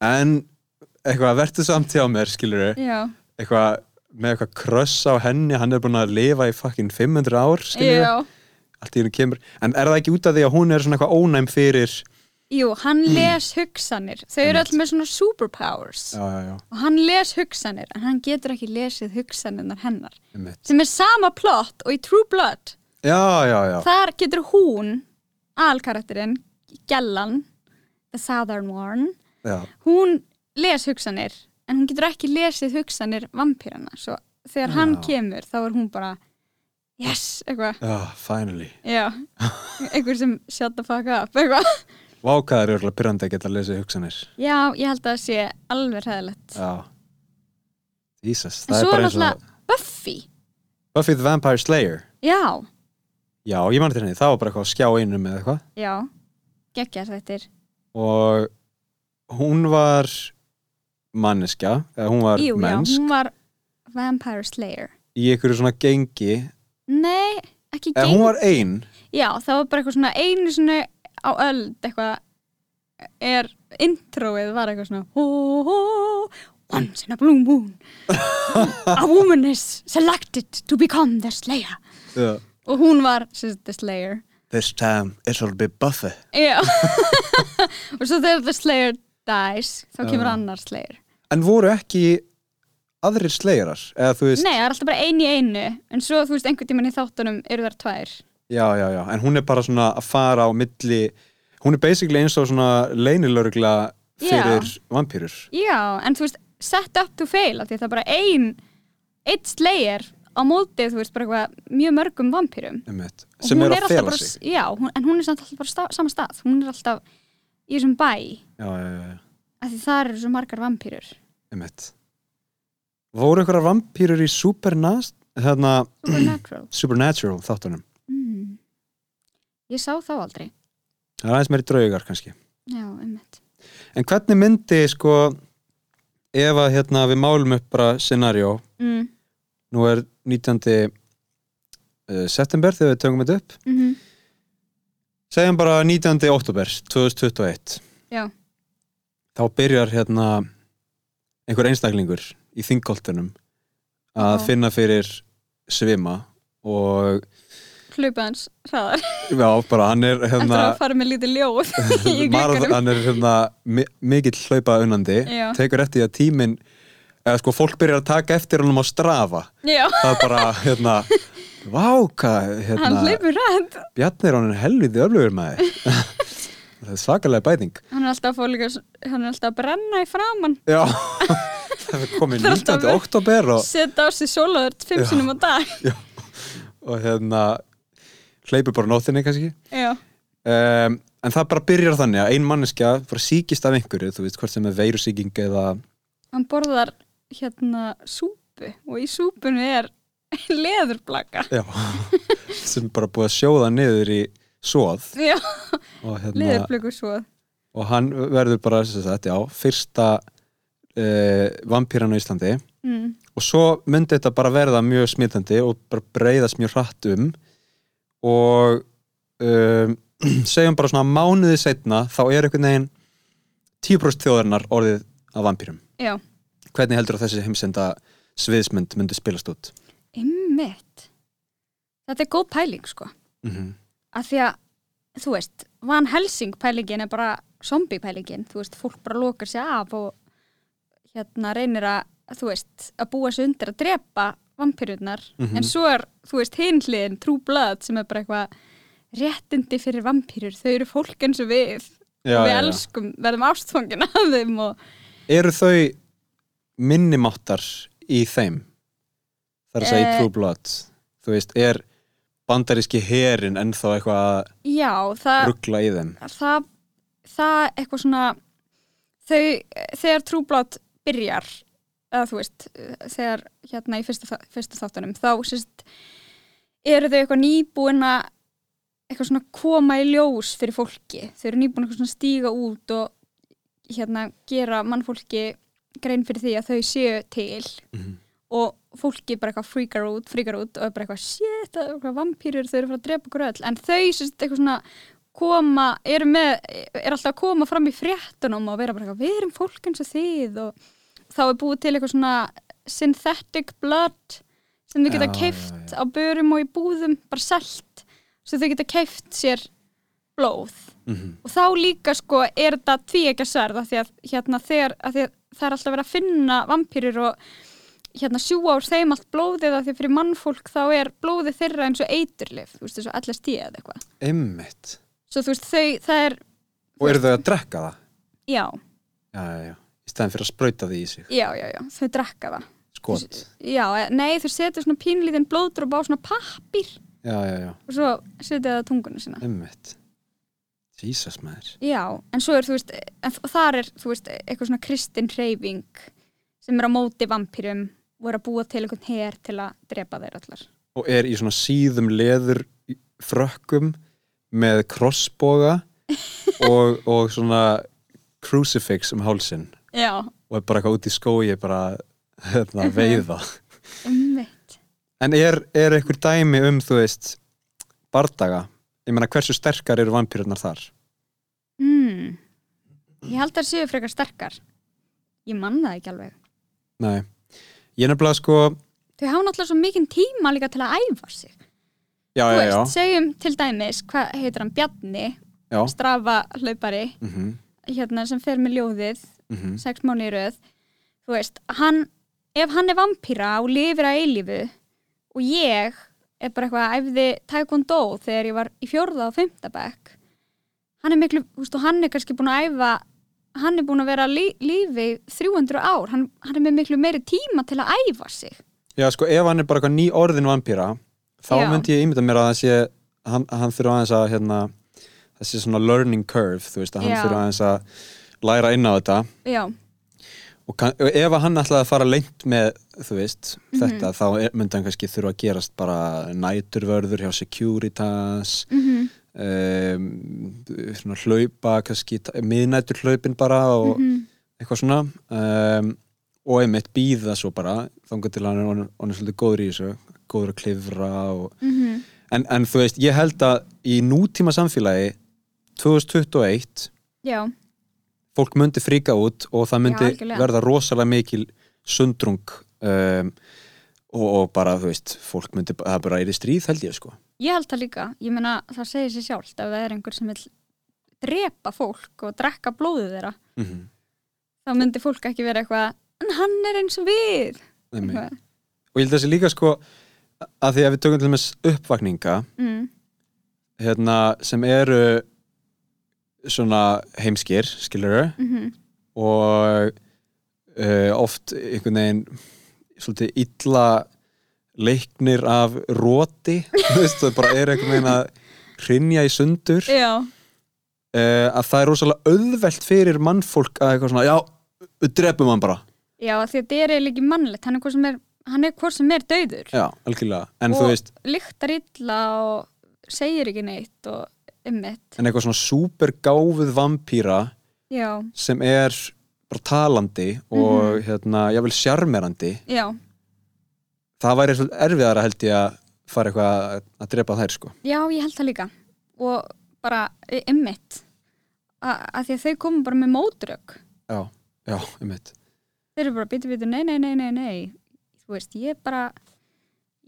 en eitthvað verður samt hjá mér skilur
já,
eitthvað með eitthvað kröss á henni hann er búin að lifa í fucking 500 ár skilur
já
allt í hennu kemur en er það ekki út af því að hún er svona eitthvað ónæm fyrir
Jú, hann
Mm.
les hugsanir þau eru öll með svona superpowers
já, já, já,
og hann les hugsanir en hann getur ekki lesið hugsaninnar hennar
einmitt.
sem er sama plott og í True Blood
já, já, já,
þar getur hún alkarakterinn, Gellan the Southern one
já.
hún les hugsanir en hún getur ekki lesið hugsanir vampýrana svo þegar hann
Já.
kemur þá er hún bara yes, eitthvað
já finally
já, einhver sem shut the fuck up eitthvað
vákaðar eru pyrrandi að geta að lesa hugsanir
já, ég held að það sé alveg hræðilegt
já Jesus,
en
það er
svo er
bara eins og
náttúrulega Buffy
Buffy the Vampire Slayer
já,
já, ég man til henni, það var bara eitthvað að skjá innum eða eitthvað
já, geggjar þetta
og hún var manneskja, eða hún var
jú, já,
mennsk
hún var Vampire Slayer
í einhverju svona gengi
nei, ekki
eða
geng
hún var ein
já, það var bara eitthvað svona einu svona á öld eitthvað er introið var eitthvað svona hó, hó, once in a blue moon a woman is selected to become the slayer
yeah.
og hún var sem sagt, the slayer
This time it'll be Buffy
já og svo þegar the slayer dies þá kemur annar slayer
En voru ekki aðrir sleirar eða þú veist,
nei, það er alltaf bara ein í einu en svo þú veist einhvern tímann í þáttunum eru þar tvær
já, já, já en hún er bara svona að fara á milli hún er basically eins og svona leynilörgla fyrir yeah. vampýrur
Já, en þú veist, set up to fail af því að það er bara ein eitt slayer á mótið, þú veist, bara eitthvað mjög mörgum vampýrum Og
sem
hún
er að
alltaf
fela
bara,
sig
Já, hún, en hún er samt alltaf bara á sta, sama stað hún er alltaf í þessum bæ
Já, já, já, já,
af því það eru svo margar vampýrur
einmitt Voru einhverjar vampýrur í Supernast hérna,
Supernatural
Supernatural þáttunum
mm. Ég sá þá aldrei
Það er aðeins meiri draugar kannski
Já, ummitt
En hvernig myndi sko ef að hérna, við málum upp bara scenario
mm.
nú er 19. eh, september þegar við tökum þetta upp
mm -hmm.
segjum bara 19. oktober 2021
Já.
þá byrjar hérna einhver einstaklingur í þingkoltunum að
Já.
finna fyrir svima og
hlupa hans hraðar
já, bara hann er
eftir
hérna,
að fara með lítið ljóð í
Marath-
glugganum
hann er hérna, mi- mikill hlaupa unandi
Já.
tekur eftir því að tíminn eða sko fólk byrjar að taka eftir honum á strafa
Já,
það er bara hérna váka,
hann
hérna
hleypur rætt
Bjarni er honum helviti öflugur maður það er svakalega bæting
Hann er alltaf að, fá líka, hann er alltaf að brenna í framann
já, það er komið
Það er
19.
alltaf verið-
oktober og,
setja á sig sólaður fimm
Já.
sinnum á dag
og hérna hleypur bara nóttinni kannski
Já,
um, en það bara byrjar þannig að ein manneskja bara síkist af einhverju, þú veist hvort sem er veirusíking eða
hann borðar hérna súpu og í súpunni er leðurblaka
já, sem bara búið að sjóða niður í svoð
Já,
og, hérna,
leðurblöku svo
og hann verður bara sem sagt, já, fyrsta uh, vampýran á Íslandi
mm.
og svo myndi þetta bara verða mjög smitandi og bara breyðast mjög hratt um og um, segjum bara svona mánuði setna þá er einhvern veginn 10% þjóðarinnar orðið af vampýrum
Já,
hvernig heldur að þessi heimsenda sviðsmynd myndi spilast út
ymmit Þetta er góð pæling sko
mm -hmm.
að því að, þú veist, Van Helsing pælingin er bara zombie pælingin þú veist, fólk bara lokar sér af og hérna reynir að, þú veist að búa sér undir að drepa vampirurnar,
Mhm.
en svo er, þú veist hinliðin, True Blood, sem er bara eitthvað réttindi fyrir vampirur þau eru fólk eins og við og við elskum, verðum ástfangin af þeim og
eru þau minnimáttar í þeim þar að segja í
Eh.
True Blood þú veist, er bandaríski herin ennþá eitthvað að
já, það
ruggla í þeim
það, það eitthvað svona þau, þegar trúblát byrjar eða þú veist, þegar hérna í fyrsta, þa- fyrsta þáttunum, þá sérst, eru þau eitthvað nýbúin að eitthvað svona koma í ljós fyrir fólki, þau eru nýbúin eitthvað svona stíga út og hérna gera mannfólki grein fyrir því að þau séu til
Mhm.
og fólki bara eitthvað freakar út, freakar út og er bara eitthvað shit, það eru eitthvað vampýrur, þau eru að fara að drepa okkur öll en þau sérst eitthvað svona koma, eru með, er alltaf að koma fram í fréttunum og vera bara eitthvað við erum fólk eins og þið og þá er búið til eitthvað svona synthetic blood sem þau geta
Já, já,
keift á börum og í búðum bara selt, sem þau geta keift sér blóð
mm
og þá líka sko er þetta tvíekja sverð af því að hérna þegar af því að það er alltaf verið að finna vampýrur og hérna sjúa úr þeim allt blóðið af því að fyrir mannfólk þá er blóðið þeirra eins og eiturlif, þú veist þessu allir stíð eða eitthvað.
einmitt
Svo þú veist þau, það er,
og eru þau að drekka það
já,
já, já, já. í stæðan fyrir að sprauta því í sig
já, já, já, þau drekka það.
skot
Já, eh, nei þau setja svona pínlítinn blóðdróp á svona pappir
já, já, já,
og svo setja það á tunguna sína.
einmitt Jesus maður
Já, en svo er, þú veist, en þ- þar er, þú veist, eitthvað svona kristin hreyfing sem er á móti vampýrum og er að búa til einhvern her til að drepa þeir allar.
og er í svona síðum leður frökkum með krossboga og, og svona crucifix um hálsin
Já,
og er bara eitthvað út í skói bara hérna, veiða
umveitt.
en er, er einhver dæmi um þú veist bardaga ég meina hversu sterkar eru vampýrurnar þar
Mm. Ég held að það séu frekar sterkar. Ég man það ekki alveg.
nei, ég nefnilega sko
Þau hafa náttúrulega svo mikinn tíma líka til að æfa sig.
já,
Þú
já, já,
segjum til dæmis, hvað heitir hann, Bjarni,
já.
strafa hlaupari,
Mm
hérna sem fer með ljóðið
mm
sex mánu í röð þú veist, hann, ef hann er vampýra og lifir að eilífu og ég er bara eitthvað að æfði taekwondo þegar ég var í fjórða og fimmta bekk hann er miklu, þú veist, og hann er kannski búin að æfa hann er búin að vera lí, lífi í 300 ár, hann, hann er með miklu meiri tíma til að æfa sig
já, sko ef hann er bara eitthvað ný orðin vampýra þá
Já.
myndi ég ímynda mér að það sé hann, hann þurfa aðeins að hérna, það sé svona learning curve þú veist að hann
Já.
þurfa aðeins að læra inn á þetta
já,
og kann, og ef hann ætlaði að fara lengt með þú veist,
Mhm.
þetta þá er- myndi hann kannski þurfa að gerast bara næturvörður hjá Securitas
mm
um, svona hlaupa kannski ta- miðnætur hlaupin bara
Mhm.
og eitthvað svona um, og einmitt býða svo bara þangar til hann er honum honum svolítið góður í þessu góður að klifra og...
Mhm.
en, en þú veist, ég held að í nútíma samfélagi 2021
já,
fólk myndi fríka út og það myndi
algjörlega.
verða rosalega mikil sundrung um, og, og bara, þú veist, fólk myndi það bara er í stríð held ég sko
Ég held það líka, ég meina það segir sér sjálft ef það er einhver sem vil drepa fólk og drekka blóðið þeirra
mm
þá myndi fólk ekki vera eitthvað en hann er eins og við
-hmm.
eitthvað.
og ég held þessi líka sko að því að við tökum til þess uppvakninga
mm.
hérna, sem eru svona heimskir skilur
Mm -hmm.
og uh, oft einhvern veginn svolítið illa leiknir af róti þú veist, það bara er einhvern veginn að hrinja í sundur
Já,
uh, að það er rosalega auðvelt fyrir mannfólk að eitthvað svona, já, við drepum hann bara
já af því að þetta er ekki mannlegt hann er hvort sem er, hann er, hvort sem er döður
já, algjörlega, en
Og-
þú veist
lyktar illa og segir ekki neitt og ummitt
en eitthvað svona supergáfuð vampýra
Já,
sem er bara talandi og
Mhm.
hérna, jável sjarmerandi
já,
það væri svolítið erfiðara held ég að fara eitthvað að, að drepa þær sko
já, ég held það líka og bara e, ummitt að því að þau komum bara með mótrök
já, já, einmitt
þeir eru bara býtu býtu, nei, nei, nei, nei, nei þú veist, ég bara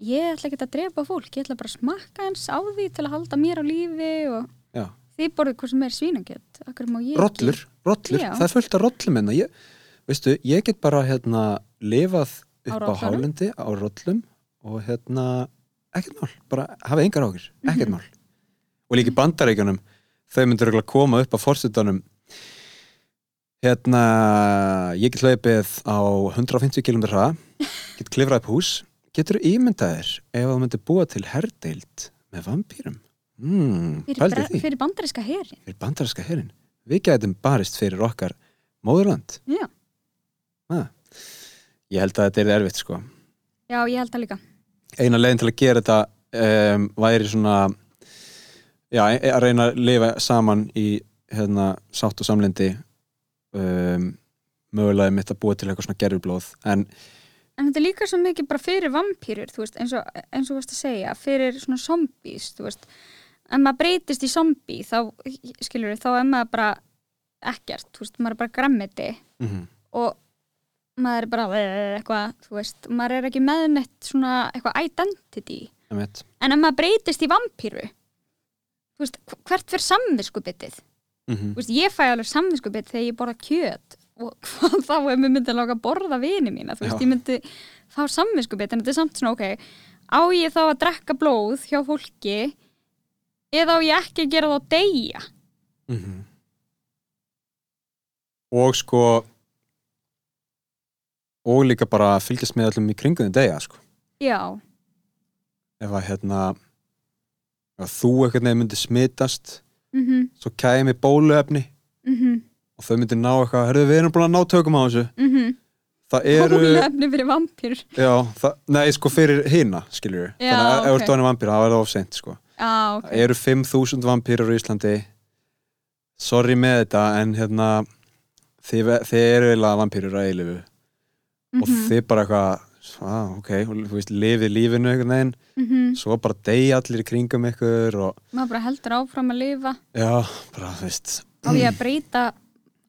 ég ætla ekki að drepa fólk, ég ætla bara að smakka eins á því til að halda mér á lífi og
Já.
þið borðið hvað sem er svínakjöt akkur má ég ekki-
Rollur, rollur,
Já.
það er fullt af rollum hérna ég, veistu, ég get bara hérna lifað
Á
upp á,
rollunum?
hálendi á rollum og hérna ekkert mál, bara hafa engar ákir
Mhm.
ekkert mál og líka í bandaríkjunum þau myndur örugglega koma upp á forstutunum hérna ég get hlaupið á 150 km hraða get klifrað upp hús getur ímyndaðir ef þú myndir búa til herdeild með vampýrum mm,
fyrir,
pældu í
bra-
því
fyrir bandaríska herin
fyrir bandarinska herin við gætum barist fyrir okkar móðurland
Já.
Ha. ég held að þetta er erfitt sko
já, ég held það líka
eina leiðin til að gera þetta um, væri svona já, e- að reyna að lifa saman í hérna, sátt og samlindi um, mögulega mitt að búa til eitthvað svona gerfublóð en
en þetta er líka svo mikið bara fyrir vampýrur þú veist, eins og, eins og þú veist að segja fyrir svona zombies, þú veist ef maður breytist í zombi þá, skilur þá er maður bara ekkert, þú veist, maður er bara grammiti
mm
og maður er bara eh, eitthvað, þú veist, maður er ekki meðnett svona eitthvað identity
einmitt,
en ef maður breytist í vampýru þú veist, hv- hvert fyrir samviskubitið þú
mm -hmm.
veist, ég fæ alveg samviskubitið þegar ég borða kjöt og hvað þá ef mér myndi lága að borða vini mína, þú veist,
Já.
ég myndi fá samviskubitið, en þetta er samt svona, ok á ég þá að drekka blóð hjá fólki eða á ég ekki að gera þá deyja
Mhm. og sko og líka bara fylgjast með allum í kringunni degja sko
já,
ef að hérna ef að þú einhvern veginn myndi smitast
mhm, mhm
svo kæmi bóluefni og þau myndi ná eitthvað, herðu við erum búin að ná tökum á þessu
Mhm.
það eru,
Bólefni fyrir vampýr
já, það, nei sko fyrir hina skilur við,
Já,
þannig að ef
ok.
þú ert orðin vampýr það var það of seint sko,
Já, ok.
það eru 5.000 vampýrar í Íslandi sorry með þetta en hérna þið, ve- þið eru eiginlega vampýrar að eilifu og
Mhm,
þið bara eitthvað Ah, ok, og þú veist, lifið lífinu einhvern veginn,
mhm.
svo bara deyja allir í kringum ykkur og
maður bara heldur áfram að lifa
já, bara, þú veist
á ég að breyta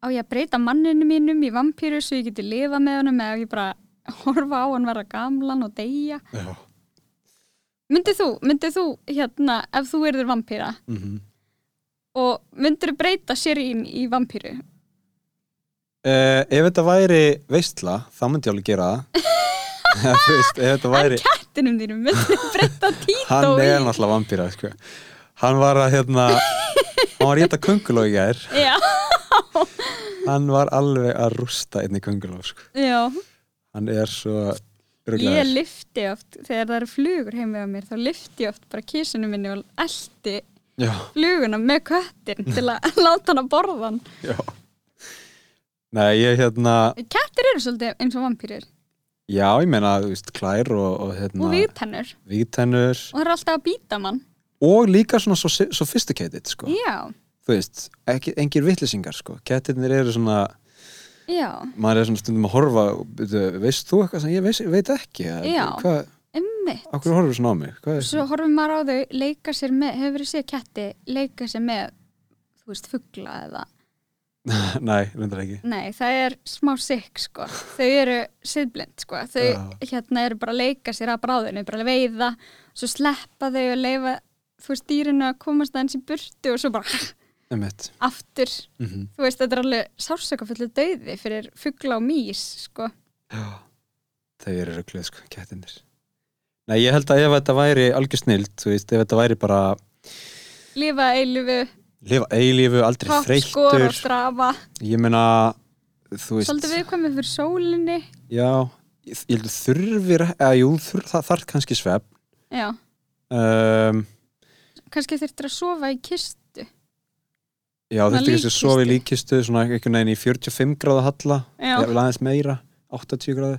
á ég að breyta manninu mínum í vampýru svo ég geti lifa með honum eða á ég bara að horfa á hann verða gamlan og deyja
já.
myndið þú, myndið þú hérna ef þú erður vampýra
Mm
og myndir þú breyta sér í, í vampýru
Uh, ef þetta væri veistla, þá myndi ég alveg gera það Þú veist, ef þetta væri
kettinum þínum, myndir þú breyta
hann
Tító í
er náttúrulega vampýra sko. hann var að hérna hann var rétt að könguló í gær
já,
hann var alveg að rústa einni könguló sko.
já.
hann er svo
ég
ruglaður.
lifti oft þegar það eru flugur heima á mér þá lifti ég oft bara kísinu minni og eldi
já,
fluguna með köttin til að láta hann að borða hann
já nei, ég hérna
kettir eru svolítið eins og vampýrir
já, ég meina, þú veist, klær og, og
og
hérna,
viðtennur
vígtennur
og það er alltaf að býta mann
og líka svona so sophisticated sko.
já,
þú veist, ekki, engir vittlisingar sko. kettirnir eru svona
já,
maður er svona stundum að horfa og byrju, veist þú eitthvað sem ég veist, veit ekki Eða
Já.
hvað,
ummitt
á hverju horfur svona á mig hvað er
svo horfum maður á þau, leika sér með hefur verið séð ketti, leika sér með þú veist, fugla eða
Nei, reyndar ekki.
Nei, það er smá sikk sko. Þau eru siðblind sko. Þau
Já.
hérna eru bara að leika sér að bráðinu, bara að veiða, svo sleppa þau að leifa þú veist dýrinu að komast aðeins í burtu og svo bara
Emmett.
aftur.
Mm
Þú veist, þetta er alveg sársökafullu döiði fyrir fugla og mís sko.
Já, þau eru rögluð sko, kettinir. Nei, ég held að ef þetta væri algjör snild, þú veist, ef þetta væri bara
Lifa eilifu,
lifa eilífu, aldrei
toppskor og
þreyttur,
strafa,
ég meina, þú veist,
svolítið viðkvæmið fyrir sólinni.
já, ég ég held að þurfir, eða jú, þur, það þarf kannski svefn.
Já,
Um,
kannski þurftir að sofa í kistu.
já,
Svona
þetta er kannski að sofa í líkistu, svona einhvern veginn í 45 gráða halla,
Já,
eða aðeins meira, 80 gráðu,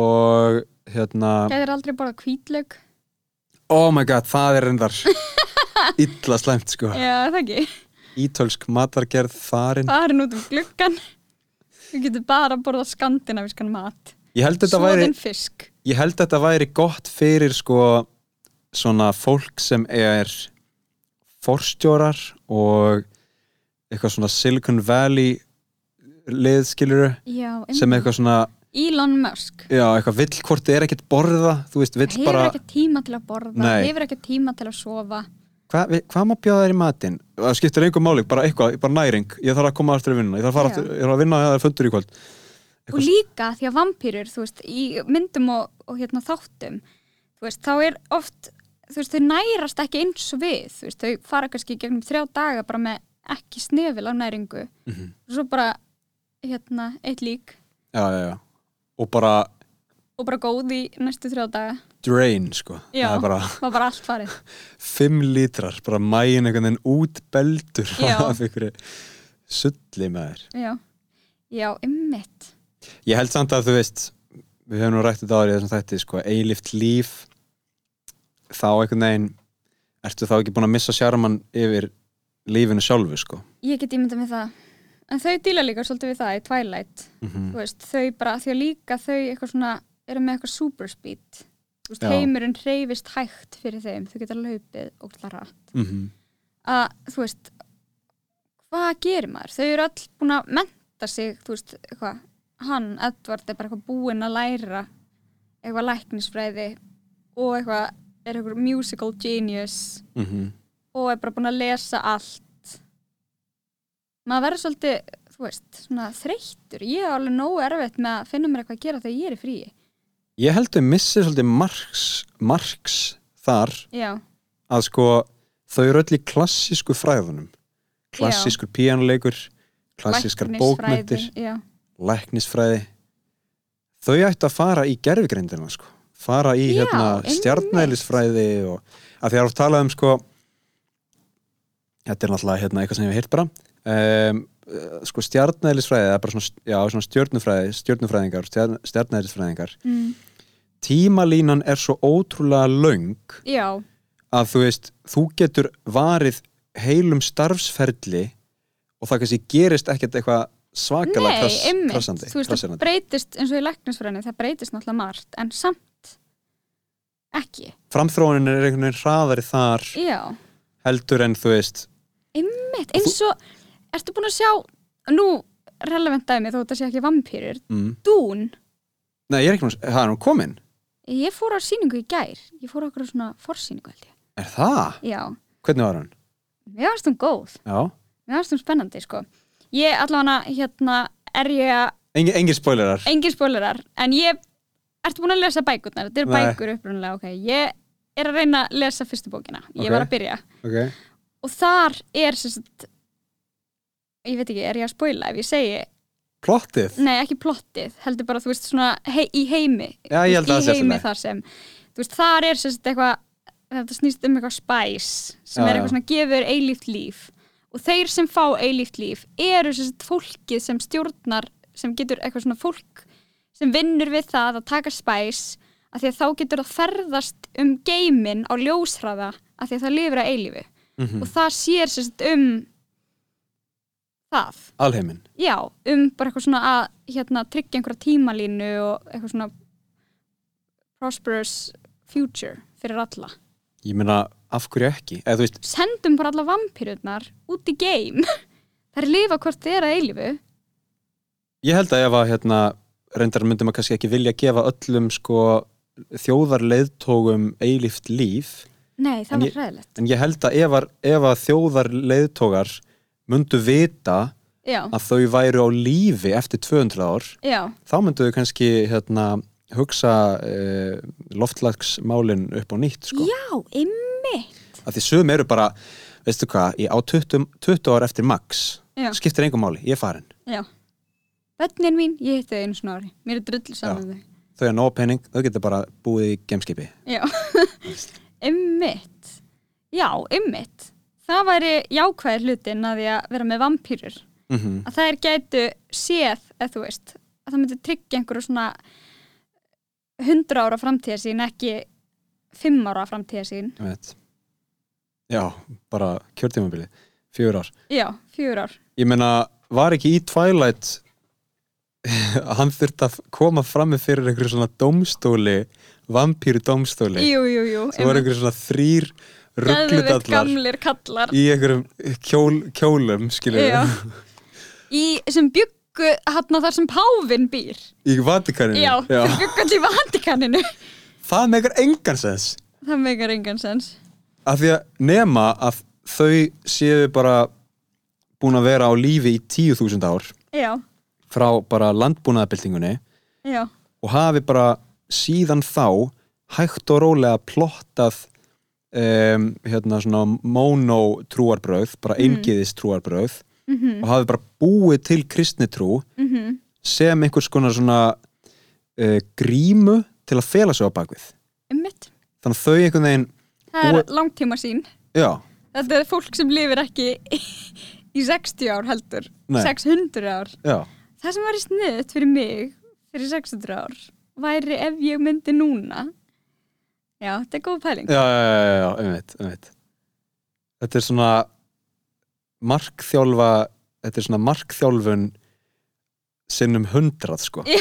og hérna...
gæðir aldrei bara kvítlaug.
Oh my god, það er reyndar illa slæmt sko
Já, er það ekki.
Ítölsk matargerð farin
farin út um gluggan við getum bara að borða skandinavískan mat
Ég held þetta væri,
svoðin fisk
ég held þetta væri gott fyrir sko svona fólk sem er forstjórar og eitthvað svona Silicon Valley liðskiluru
já, um
sem eitthvað svona,
Elon Musk
já, eitthvað vill hvort þið er ekkert borða, þú veist, vill
hefur
bara
ekki tíma til að borða
Nei.
hefur ekki tíma til að sofa
hvað hva hvað má bjóða þér í matinn? Það skiptir einhver máli, bara eitthvað, bara næring ég þarf að koma aftur að vinna, ég þarf að, fara
Já.
aftur, ég þarf að vinna að það er fundur í kvöld
og líka því að vampýrur þú veist, í myndum og, og hérna þáttum þú veist, þá er oft þú veist, þau nærast ekki eins og við þú veist, þau fara kannski í gegnum þrjá daga bara með ekki snefil á næringu
mm
og svo bara, hérna, eitt lík
já, já, já. og bara
og bara góð í næstu þrjá daga
drain sko
Já.
það er bara
var bara allt farið
5 lítrar, bara mæin einhvern veginn útbeldur
Já.
af einhverju sulli með þér
Já, já, ymmit
ég held samt að þú veist við höfum nú rætt þetta árið þessum þætti sko, eilift líf þá einhvern veginn ertu þá ekki búin að missa sjarman yfir lífinu sjálfu sko
Ég get ímyndað með það En þau díla líka svolítið við það í Twilight
Mm.
Þú veist, Þau bara, því að líka þau eitthvað svona, eru með eitthvað super speed Þú veist,
Já.
heimurinn hreyfist hægt fyrir þeim Þau geta laupið og hlara
mm -hmm.
að þú veist hvað gerir maður? Þau eru all búin að menta sig, þú veist, eitthvað hann, Edward, er bara eitthvað búinn að læra eitthvað læknisfræði og eitthvað, er eitthvað musical genius
Mm -hmm.
og er bara búin að lesa allt maður verður svolítið þú veist, svona þreyttur ég er alveg nógu erfitt með að finna mér eitthvað að gera þegar ég er í fríi
ég held að missa svolítið margs, margs þar
já,
að sko þau eru öll í klassísku fræðunum klassískur píanuleikur klassískar
læknisfræði,
bókmyndir
já,
læknisfræði þau ættu að fara í gerfugrindina sko. fara í
Já,
hérna,
einmitt.
stjarnælisfræði og að því að þú talað um sko þetta er náttúrulega hérna, eitthvað sem ég hef heyrt bara um, sko stjarnælisfræði það er bara svona, já, svona stjörnufræði stjörnufræðingar, stjarn, stjarnælisfræðingar
mm,
tímalínan er svo ótrúlega löng
já,
að þú veist, þú getur varið heilum starfsferli og það kannski gerist ekkert eitthvað svakalega
nei,
krass-
ymmit
krassandi,
þú veist, það
krassandi.
breytist eins og í læknisfræðinu það breytist náttúrulega margt, en samt ekki,
framþróunin er einhvern veginn hraðari þar
já
heldur en þú veist
ymmit, eins og, ertu búin að sjá nú, relevant dæmi þó þetta sé ekki vampýrur,
mm.
dún
nei, ég er ekki með, það er hún komin
ég fór á síningu í gær, ég fór á okkur svona forsýningu held ég
er það?
Já,
hvernig var hún?
mér fannst hún góð,
já,
mér fannst hún spennandi sko. Ég allavega hérna er ég að,
Engi, engir spoilerar
engin spoilerar, en ég, ertu búin að lesa bækurnar? Þetta eru
Nei.
bækur upprunalega, ok. Ég er að reyna að lesa fyrstu bókina, ég
Ok.
var að byrja.
ok,
Og þar er sem sagt, ég veit ekki, er ég að spoila ef ég segi,
plottið
nei ekki plottið, heldur bara þú veist svona hei, í heimi,
já, ég held að
í
það sé
heimi
alltaf
þar sem þú veist, þar er sem sagt eitthvað þetta snýst um eitthvað spæs sem
Já,
er
já.
eitthvað svona gefur eilíft líf og þeir sem fá eilíft líf eru sem sagt fólkið sem stjórnar sem getur eitthvað svona fólk sem vinnur við það að taka spæs af því að þá getur það ferðast um geiminn á ljósraða af því að það lifir að eilífu
mm
og það sér sem sagt um það
alheimin
já, um bara eitthvað svona að hérna, tryggja einhverja tímalínu og eitthvað svona prosperous future fyrir alla.
ég meina, af hverju ekki? eða þú veist,
Sendum bara alla vampýrurnar út í game Það er lifa hvort þið er að eilífu
Ég held að ef að hérna reyndar myndi maður kannski ekki vilja gefa öllum sko þjóðarleiðtógum eilíft líf
Nei,
En
það var
ég-
hræðilegt
en ég held að ef að, ef að þjóðarleiðtógar myndu vita
Já,
að þau væru á lífi eftir 200 ár
já,
þá myndu þau kannski hérna, hugsa uh, loftlagsmálin upp á nýtt sko.
já, ymmi
að því sum eru bara veistu hvað, ég á 20, 20 ár eftir max
Já.
skiptir engum máli, ég er farin
Já Bönnin mín, ég hitti þau einu svona ári Mér er drullu saman um þau
þau er nóg pening, þau getur bara búið í gemskipi
Já, ymmit Já, ymmit Það væri jákvæðir hlutin að því að vera með vampýrur
mm -hmm.
að þær gætu séð, eða þú veist að það myndi tryggja einhverju svona 100 ára framtíða sín ekki 5 ára framtíða sín
já, bara kjörtímabili fjör ár
Já, fjögur ár
ég meina, var ekki í Twilight að hann þurft að koma fram með fyrir einhverju svona dómstóli vampýru dómstóli
Jú, jú, jú
sem var einhverju svona þrýr
Geðveikt
rugglutallar
gamlir kallar
í einhverjum kjól, kjólum skilur
Já. í, sem byggu hann þar sem Pávin býr
í Vatikaninu
Já, sem byggu allir í Vatikaninu
það megar engan sens
Það megar engan sens
af því að nema að þau séu bara búin að vera á lífi í tíu þúsund ár
Já,
frá bara landbúnaðabildingunni
já,
og hafi bara síðan þá hægt og rólega plottað um, hérna svona mono trúarbröð, bara eingiðis trúarbröð og hafi bara búið til kristnitrú
mhm,
sem einhvers konar svona uh, grímu til að fela sig á bakvið
ummitt
þannig að þau einhvern veginn,
Það er
Og-
langtíma sín
já,
Þetta er fólk sem lifir ekki í 60 ár heldur
Nei.
600 ár
já
Það sem væri sniðt fyrir mig fyrir 600 ár væri ef ég myndi núna Já, þetta er góð pæling
já, já, já, já, einmitt, einmitt þetta er svona markþjálfa þetta er svona markþjálfun sinnum hundrað sko
Já.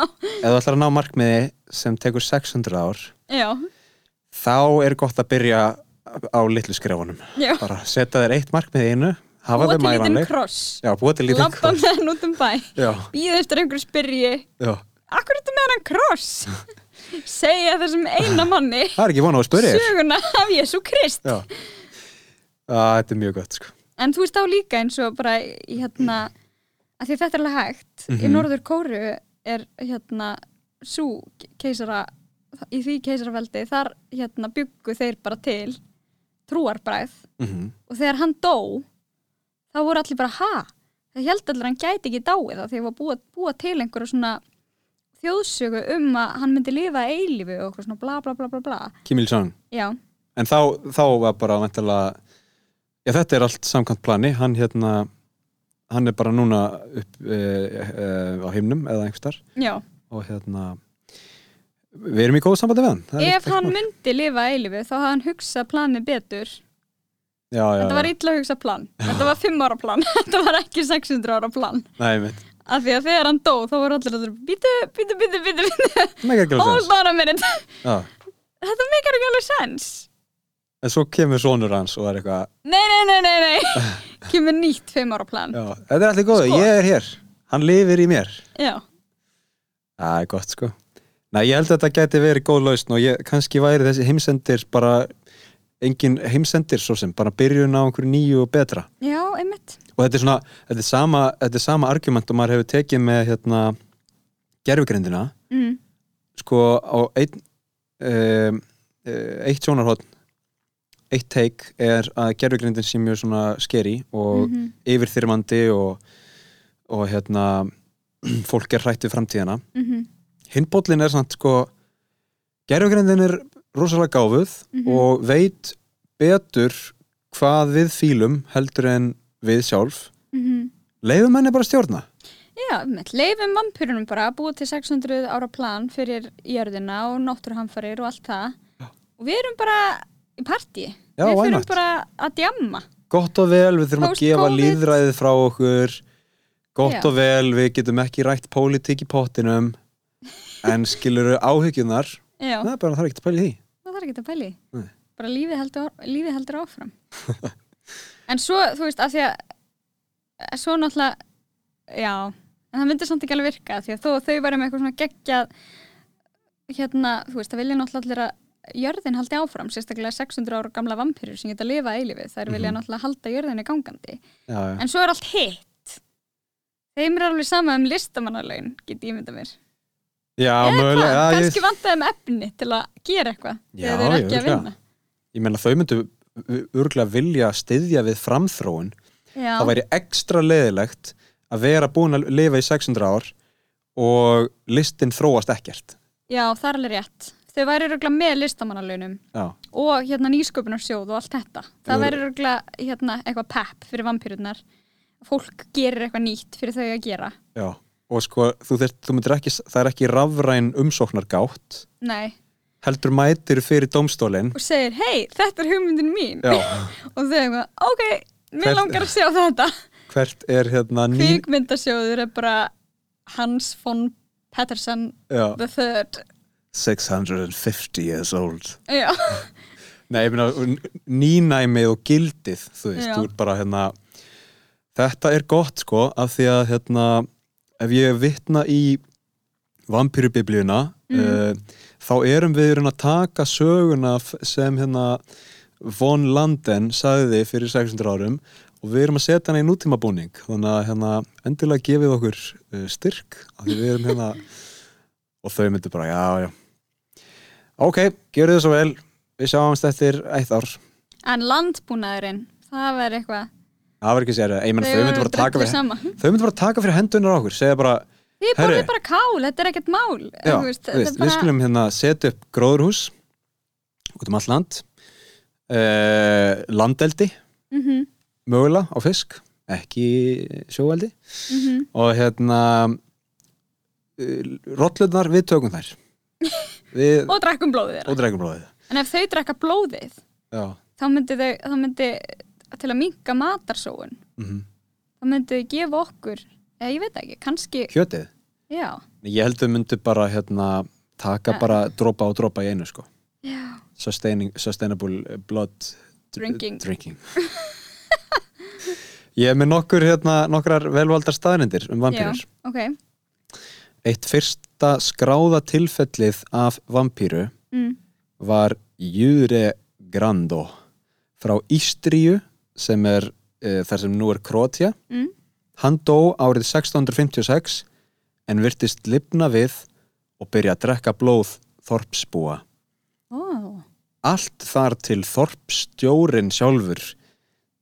ef þú ætlar að ná markmiði sem tekur 600 ár
Já,
þá er gott að byrja á litlu skrefunum
já
bara setja þér eitt markmiði í einu hafa þau
Búa til lítinn
mælanleg
kross
já, búa til lítinn
Labba
kross
með hann út um bæ
já,
Býða eftir einhverju spyrji
já.
Akkur ertu með hann kross? Segja þessum eina manni
það er ekki von á að spyrja þér.
Söguna af Jésu Krist
já, að, þetta er mjög gott sko
En þú veist á líka eins og bara í hérna, að því þetta er alveg hægt í
Mhm.
Norður Kóru er hérna svo keisara í því keisaraveldi þar hérna byggu þeir bara til trúarbræð
mm -hmm.
og þegar hann dó þá voru allir bara ha það held allir að hann gæti ekki dáið af því að var búa, búa til einhverju svona þjóðsögu um að hann myndi lifa að eilífu og eitthvað svona bla bla bla bla bla
Kim Il-sung
já,
En þá, þá var bara vantilega Já, þetta er allt samkvæmt plani Hann hérna Hann er bara núna upp e, e, á heimnum eða einhvers þar
já
og hérna Við erum í góðu sambandi við hann það er
ef
ekkert
hann
mál.
myndi lifa að eilífu þá hafði hann hugsað planið betur
já, já,
Þetta var
já.
illa hugsa plan. Þetta var 5 ára plan. Þetta var ekki 600 ára plan.
Nei, mitt
Af því að þegar hann dó, þá voru allir allir bítu, bítu, bítu, bítu, bítu,
Mega ekki alveg
hold
sens
on a minute.
Já.
Þetta meikar ekki alveg sens.
En svo kemur sonur hans og er eitthvað
Nei, nei, nei, nei, nei. Kemur nýtt 5 ára plan.
já, Þetta er allir góðu,
Sko.
ég er hér Hann lifir í mér
Já,
Það er gott sko Nei, ég held að þetta gæti verið góð lausn og ég, kannski væri þessi heimsendir bara engin heimsendir svo sem bara byrjun á einhverju nýju og betra
já, einmitt.
og þetta er svona, þetta er sama, þetta er sama argument og maður hefur tekið með hérna gerfugrindina,
Mm.
sko á einn um, eh, eitt sjónarhótt eitt teik er að gerfugrindin sé mjög svona skeri og
Mhm.
yfirþyrmandi og, og hérna fólk er hrætt við framtíðina
mhm,
hinn bóllin er svona sko gerfugrindin er rosalega gáfuð
Mhm.
og veit betur hvað við fýlum heldur en við sjálf
mhm.
leiðum henni bara að stjórna
Já, einmitt. Leifum vampyrunum bara að búa til 600 ára plan fyrir jörðina og náttúruhamfarir og allt það. Og við erum bara í partí.
Já,
við
why
fyrir
not?
bara að djamma.
gott og vel, við þurfum að gefa
Post-Covid.
líðræðið frá okkur gott
Já.
og vel, við getum ekki rætt pólitík í pottinum en skilur áhyggjunar
Já.
það er bara það er ekkert að pæla í því
Það þarf ekki að pæli.
Nei.
Bara lífið heldur, lífið heldur áfram. en svo, þú veist, af því að Eh, svo náttúrulega já, en það myndi samt ekki alveg virka því að þó að þau væri með eitthvað svona geggjað hérna, þú veist, það vilja náttúrulega allir að jörðin haldi áfram, sérstaklega 600 ára gamla vampýrur sem geta að lifa eilífið þær vilja
Mhm.
náttúrulega halda jörðinni gangandi
já, já.
en svo er allt hitt þeim er alveg sama um listamannalaun get ég mynda mér
já
Hvað?
mögulega já,
kannski
ég,
vantaði um efni til að gera eitthvað
Já,
þegar þeir eru
ég
ekki að
örugglega.
vinna
ég meina þau myndu örglega vilja styðja við framþróun
já,
það væri ekstra leðilegt að vera búin að lifa í 600 ár og listin þróast ekkert
já, það er alveg rétt þau væri röglega með listamannalaunum
já,
og hérna nýsköpunarsjóð og allt þetta það
Jú.
verður örugglega, hérna, eitthvað pepp fyrir vampýrurnar fólk gerir eitthvað nýtt fyrir þau að gera
já og sko, þú þyrt, þú myndir ekki, það er ekki rafræn umsóknargátt
Nei.
heldur mætir fyrir dómstólinn
og segir, hei, þetta er hugmyndin mín
já,
og þau eitthvað, ok, mér
Hvert-
langar að sjá þetta
hvert er hérna ný,
kvikmyndasjóður er bara Hans von Pettersson
já,
the third
650 years old
já,
Nei, ég meina, n- nýnæmið og gildið, þú veist,
Já.
þú er bara hérna, þetta er gott sko, af því að hérna, ef ég vitna í vampýrubiblíuna,
Mm.
uh, þá erum við raun að taka söguna f- sem hérna von Landen sagði fyrir 600 árum og við erum að setja hana í nútíma búning, þannig að hérna, endilega gefið okkur uh, styrk, af því við erum hérna, og þau myndu bara, já, já, ok, gjörðu þið svo vel, Við sjáumst eftir eitt ár.
en landbúnaðurinn það verður eitthvað
Það var ekki sér, ég menn þau myndu bara taka
drullu
fyrir
saman
þau myndu bara taka fyrir hendunar á okkur, segja bara
Þið
Herri.
borðið bara kál, þetta er ekkert mál
já,
Þú
veist,
þetta er
við
bara-
skulum hérna setja upp gróðurhús út um allt land uh, landeldi
Mhm,
mögulega á fisk, ekki sjóeldi
mhm.
og hérna uh, rollurnar við tökum þær við,
og drakkum blóðið þeirra
og dregumblóðið
en ef þau drakka blóðið
já,
þá myndi þau, þá myndi til að minka matarsóun
mm
þá myndi þau gefa okkur eða ég veit ekki, kannski,
kjötið
já
ég held þau myndu bara hérna taka
Ja.
bara dropa og dropa í einu sko
já,
sustaining, sustainable uh, blood d-
Drinking.
drinking. ég er með nokkur hérna, nokkrar velvaldar staðnindir um vampýrur
ok
eitt fyrsta skráða tilfellið af vampýru
mm.
var Jure Grando frá Ístriu sem er e, þar sem nú er Kroatja
Mm.
hann dó árið 1656 en virtist lifna við og byrja að drekka blóð þorpsbúa
oh.
allt þar til þorpsstjórin sjálfur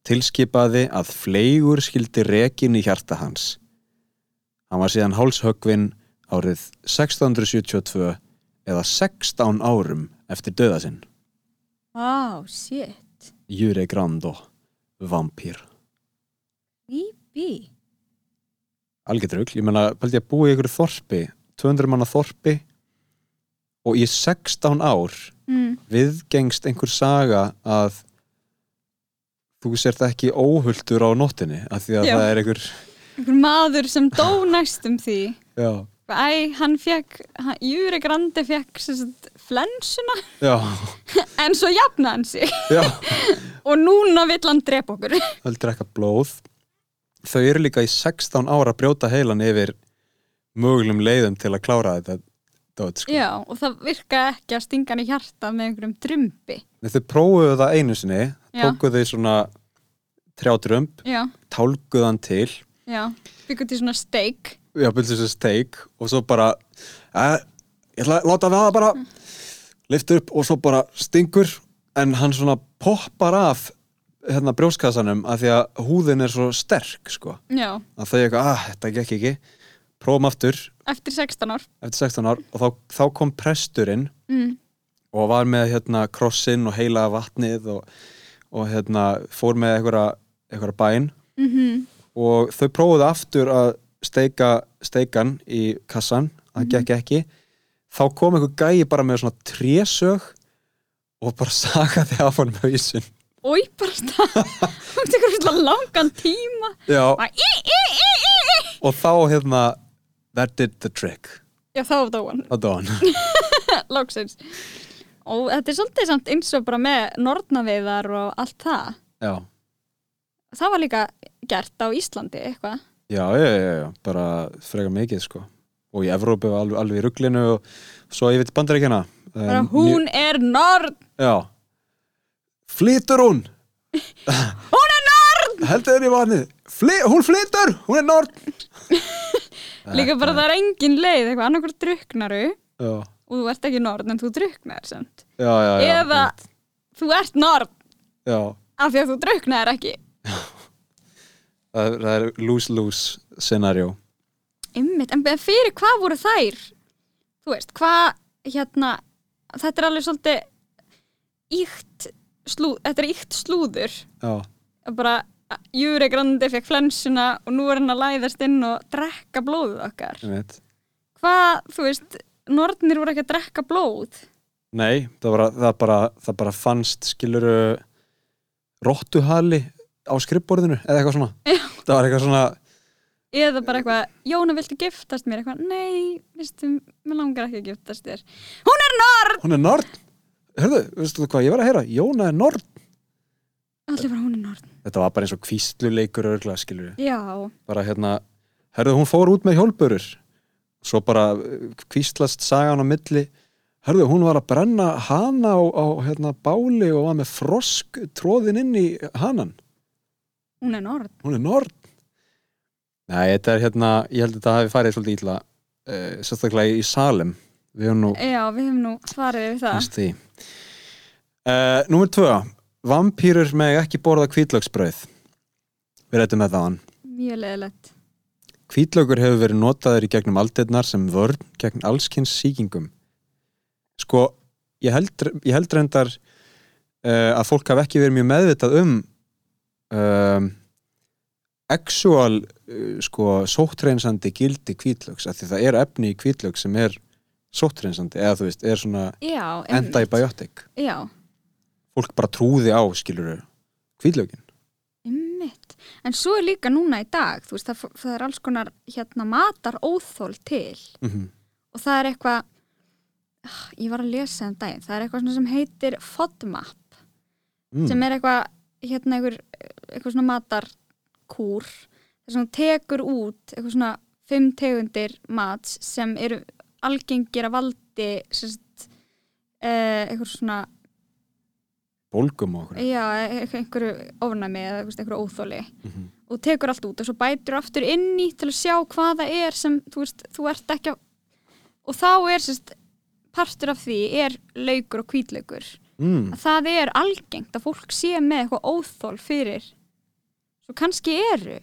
tilskipaði að fleigur skildi rekin í hjarta hans. Hann var síðan hálshöggvinn árið 1672 eða 16 árum eftir döða sinn.
wow, shit
Jure Grando, vampýr.
BB
Algeitrugl, ég menna, pældi ég að búa í ykkur þorpi, 200 manna þorpi og í 16 ár
mm.
viðgengst einhver saga að þú sért ekki óhulltur á nóttinni af því að
Já.
það er einhver
einhver maður sem dó næstum því
já,
æ, hann fekk, hann- Júri Grandi fekk sem sagt, flensuna
já,
en svo jafnaði hann sig
já
og núna vill hann drepa okkur
það drekka blóð þau eru líka í 16 ára að brjóta heilan yfir mögulegum leiðum til að klára þetta dót, sko.
já, og það virka ekki að stinga hann í hjarta með einhverjum drumbi
En þau prófuðu það einu sinni
Já.
tókuðu þau svona trjátrömb,
já,
tálguðan til
já, byggur til svona steik
já, byrjuðu þessu steik og svo bara eh, ég ætla að láta við það bara lift upp og svo bara stingur en hann svona poppar af hérna brjóskassanum af því að húðin er svo sterk sko
já,
að þau eitthvað, að þetta gekk ekki prófum aftur
eftir 16 ár
eftir 16 ár og þá, þá kom presturinn
mm.
og var með hérna krossinn og heila vatnið og, og hérna fór með einhverja, einhverja bæn
Mm
og þau prófuðu aftur að steika steikan í kassan það gekk ekki þá kom einhver gæi bara með svona trésög og bara sagaði af hann með ísinn
og ég bara stað hún tekur svona langan tíma
já,
bara, í, í, í, í, í.
og þá hérna that did the trick
já, þá dó hann,
það dóðan
lóksins og þetta er svolítið samt eins og bara með nornaveiðar og allt það
já,
það var líka gert á Íslandi eitthvað
Já, já, já, já, bara frega mikið sko og í Evrópu var alveg, alveg í ruglinu og svo yfir til bandaríkjana
bara
En
hún er nörd
Já Flytur hún
hún er nörd,
Heldur þér í vatnið Fly, Hún flytur, hún er nord
líka bara það er engin leið eitthvað annarkur druknaru
Já,
og þú ert ekki nörd en þú druknar samt
já, já, já
eða þú ert nörd
Já,
af því að þú druknar ekki
það, er- það er lose-lose scenario
Einmitt, en be- fyrir hvað voru þær? Þú veist, hvað, hérna, þetta er alveg svolítið íkt, slú, þetta er íkt slúður.
Já,
Að Bara, Júri Grandi fekk flensuna og nú er hann að læðast inn og drekka blóðið okkar.
ég veit
Hvað, þú veist, nornir voru ekki að drekka blóð.
Nei, það, var, það, bara, það bara fannst skilur rottuhali á skrifborðinu eða eitthvað svona
Já.
Það var eitthvað svona
Eða bara eitthvað, Jóna, viltu giftast mér? Eitthvað, nei, veistu, mér langar ekki að giftast þér. Hún er norn!
hún er nörd Hörðu, veistu þú hvað, ég var að heyra, Jóna er nörd
Allir bara, hún er norn.
Þetta var bara eins og kvísluleikur örgla, skilur við
Já,
Bara hérna, hörðu, hún fór út með hjólburur Svo bara eh, kvíslast sagan á milli Hörðu, hún var að brenna hana á, á hérna, báli og var með frosk tróðin inn í hanan
hún er norn.
Hún er nörd Nei, þetta er hérna, ég held að þetta hafi farið svolítið ítla uh, Sérstaklega í Salem Við höfum nú
Já, við hefum nú svarið við það.
Næst því uh, Númer tvö Vampýrur með ekki borða kvítlöksbrauð Við rættum með þaðan
Mjög leðilegt.
Kvítlökur hefur verið notaður í gegnum aldirnar sem vörn gegn allskins sýkingum Sko, ég held, ég held reyndar uh, að fólk hafi ekki verið mjög meðvitað um um actual uh, sko, sóttreinsandi gildi kvítlöks af því það er efni í kvítlöks sem er sóttreinsandi eða þú veist, er svona
Já,
endabiotic
Já,
fólk bara trúði á, skilur kvíðlögin.
einmitt. En svo er líka núna í dag, þú veist, það, það er alls konar hérna matar óþól til
Mm -hmm.
og það er eitthvað, Ah, ég var að lesa um daginn, það er eitthvað svona sem heitir FODMAP
Mm, Hmm.
sem er eitthvað, hérna einhver, eitthvað svona matarkúr það sem tekur út eitthvað svona fimm tegundir mats sem eru algengir að valdi sérst, eh, eitthvað svona
Bólgum og okkur.
Já, e- einhverju ofnæmi eða þú veist, einhverju óþóli
Mhm.
og tekur allt út og svo bætur aftur inn í til að sjá hvað það er sem þú, veist, þú ert ekki að og þá er sérst, partur af því er laukur og hvítlaukur
Mm.
að það er algengt að fólk sé með eitthvað óþól fyrir svo kannski eru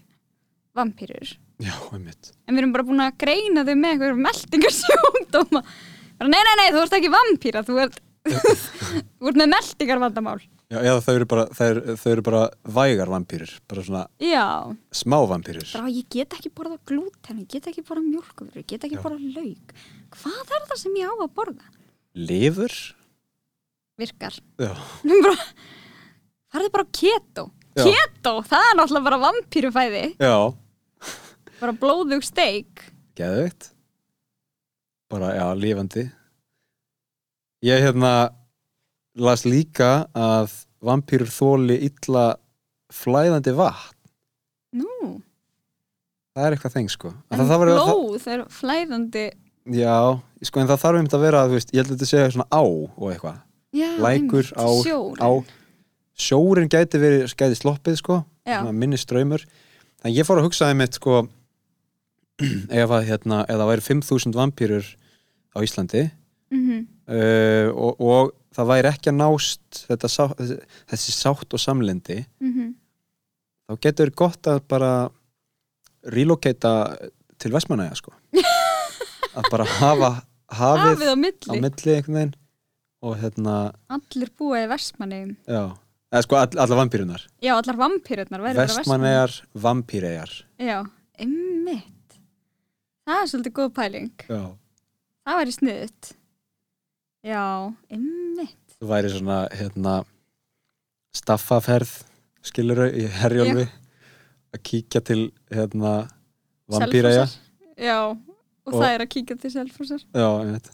vampýrur
Já, einmitt.
en við erum bara búin að greina þau með eitthvað meldingarsjóndóma nei, nei, nei, þú ert ekki vampýra þú ert, þú ert með meldingarvandamál
Já, eða þau eru bara, þau eru, þau eru bara vægar vampýrur, bara svona
Já
smá vampýrur.
Bara ég get ekki borða glúten, ég get ekki borða mjölkufur, ég get ekki
Já.
borða lauk. Hvað er það sem ég á að borða?
Lifur?
Virkar.
Já.
bara, farðu bara á keto.
Já.
Keto, það er náttúrulega bara vampýrufæði,
Já.
bara blóðug steik.
Geðveikt. Bara, já, lifandi. Ég hérna las líka að vampýrur þóli illa flæðandi vatn.
Nú,
Það er eitthvað þeng, sko. Að
en
það- það var- það-
blóð er flæðandi.
Já, sko en það þarf einmitt að vera, þú veist, ég held að þetta segja svona á og eitthvað.
Já,
Lækur,
einmitt,
á,
sjór.
á. Sjórin gæti verið, gæti sloppið, sko.
Já.
Svona Minni ströymur. En ég fór að hugsa einmitt, sko, ef að, hérna, ef það væri 5.000 vampýrur á Íslandi
Mhm.
uh, og, og það væri ekki að nást þetta, sá- þessi, þessi sátt og samlindi,
mhm.
þá getur gott að bara relocata til Vestmanæja, sko. að bara hafa hafið,
Hafið á
á
milli,
milli einhvern veginn og hérna,
allir búa í vestmanni.
já eða sko all, alla vampýrunar,
Já, allar vampýrurnar væri bara vestmanni.
vestmannegar vampýregar,
Já, einmitt. Það er svolítið góð pæling.
já,
Það væri sniðut. Já, einmitt.
það væri svona hérna staffaferð, skiluru í herjólfi, að kíkja til hérna vampýreja,
Selfossar. Já, og,
Og-
það er að kíkja til selfúsar.
já, ég veit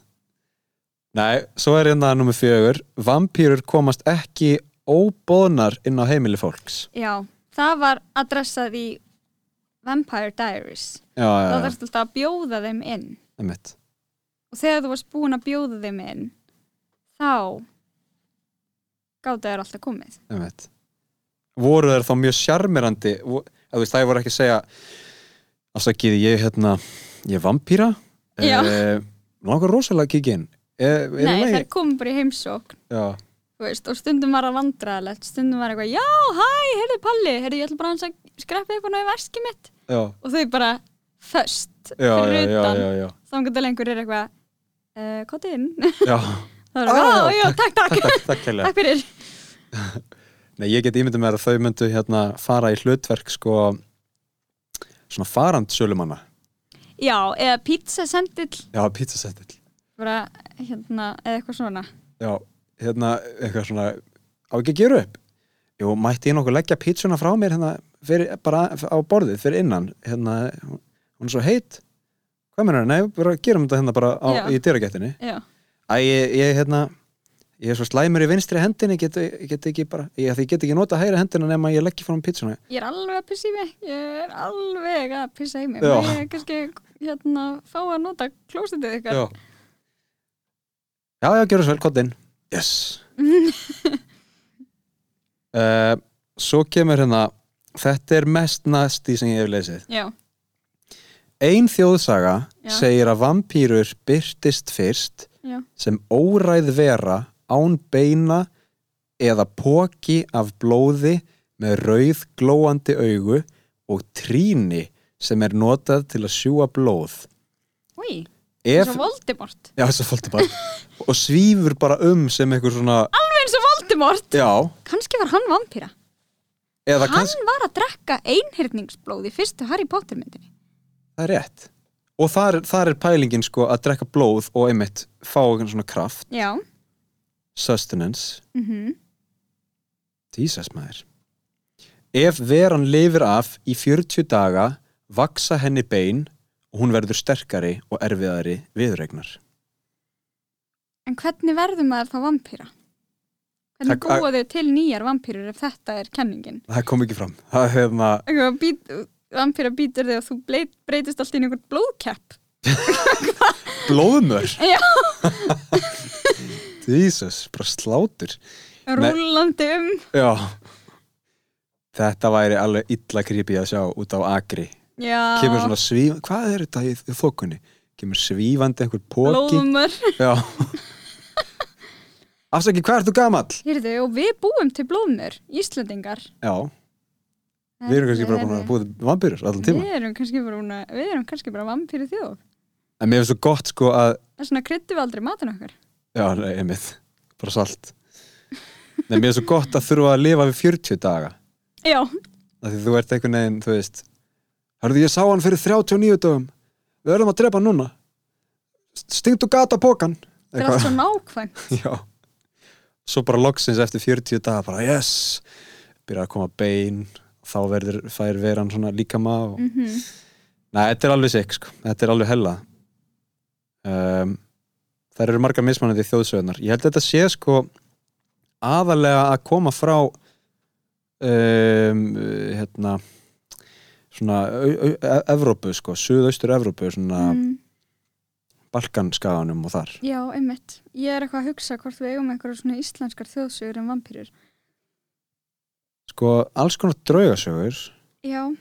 nei, svo er hérna nummer fjögur, vampýrur komast ekki óbóðnar inn á heimili fólks
Já, það var adressað í Vampire Diaries
já, já,
þá
já,
þarfst alltaf að bjóða þeim inn
einmitt
og þegar þú varst búin að bjóða þeim inn þá gáta þér alltaf komið
Einmitt. voru þær þá mjög sjarmirandi vo- eða þú veist, það ég voru ekki að segja afsakið ég hérna ég er vampýra
Já.
langar rosalega að kíkja inn e, er
nei,
í lagi?
þær komið bara í heimsókn
já,
þú veist, og stundum var það vandræðalegt stundum var eitthvað, já, hæ, heyrðu Palli heyrðu, ég ætla bara aðeins að skreppa eitthvað náðu veski mitt
já,
og þau bara föst
já, já,
fyrir
já,
utan
já, já.
þá engur til einhver er eitthvað uh, hvað inn? það
já. Á,
var eitthvað,
já,
"Á, já, takk, takk,
takk, takk kærlega
takk fyrir
Nei, ég get ímyndið mér að þau myndu hérna fara í hlutverk sko svona farand sölumanna
já, eða pizza sendill
já, pizzasettil
bara, hérna, eða eitthvað svona
já, hérna eitthvað svona á ekki að gera upp Jú, mætti ég nokkuð leggja pítsuna frá mér hérna fyrir, bara á borðið fyrir innan hérna, hún hún er svo heit hvað meina, nei, bara gerum þetta hérna bara á,
Já.
í dyragættinni
já,
Æ, ég, ég, hérna ég er svo slæmur í vinstri hendinni get, ég get ekki bara, ég, því ég get ekki nota hægri hendina nema ég leggja frá mér pítsuna
ég er alveg að pissa í mig ég er alveg að pissa í mig
Já.
ég er kannski, hérna, fá að nota klósitið ykkar
já, já, já gjör þess vel, kottinn yes uh, svo kemur hérna þetta er mest næsti sem ég hef lesið
já,
Ein þjóðsaga
Já.
segir að vampýrur byrtist fyrst
já,
sem óræð vera án beina eða póki af blóði með rauð glóandi augu og tríni sem er notað til að sjúa blóð.
úi,
Ef,
eins og Voldemort
já, þess að fólta bara. og svífur bara um sem einhver svona,
alveg eins og Voldemort
já,
kannski var hann vampýra
eða
hann
kannski,
var að drekka einhyrningsblóð í fyrstu Harry Potter myndinni
það er rétt. Og þar, þar er pælingin sko að drekka blóð og einmitt fá einhvern svona kraft,
já,
sustenance,
mhm,
Jesus maður Ef veran lifir af í 40 daga vaksa henni bein og hún verður sterkari og erfiðari viðregnar
en hvernig verður maður þá vampýra? hvernig
Það-
búa þau til nýjar vampýrur ef þetta er kenningin?
Það kom ekki fram Það hérna höfum að
eitthvað být, vampýra býtur þig og þú bleit, breytist allt í einhvern blóðkepp
blóðmör
Já.
Jesus, bara slátur Nei.
rúlandi um
Já Þetta væri alveg illa creepy að sjá út á akri
já,
Kemur svona svíf Hvað er þetta í, í þokunni? Kemur svífandi einhver póki
blóðumör
Já Afsaki, hvað ert þú gamall?
Heyrðu, og við búum til blóðmör, Íslendingar
Já, við erum kannski bara búin að búið vampýrur allan tíma.
Við erum kannski bara, búin að- við erum kannski bara vampýri þjóð
En mér finnst svo gott sko að,
Þess vegna kryddum við aldrei matinn okkar
já, nei, einmitt, bara salt. Nei, mér finnst svo gott að þurfa að lifa við 40 daga.
Já,
Af því þú ert einhvern veginn, þú veist, hörðu ég sá hann fyrir 39 dögum, við verðum að drepa hann núna. Stingt og gata pókan.
þetta er allt svo nákvæmt
Já. Svo bara loksins eftir 40 daga, bara yes, byrja að koma bein, þá verður, fær veran svona líkama og
mm
Nei, þetta er alveg sikk, sko. Þetta er alveg hella. Um, það eru margar mismanandi þjóðsögnar. Ég held að þetta sé, sko, aðalega að koma frá um, hérna, svona, au- au- e- Evrópu, sko, suðaustur Evrópu, svona,
mm,
Balkanskaganum og þar.
Já, einmitt Ég er eitthvað að hugsa hvort við eigum einhverjum svona íslenskar þjóðsögur um en vampýrur
Sko, alls konar draugasögur,
Já,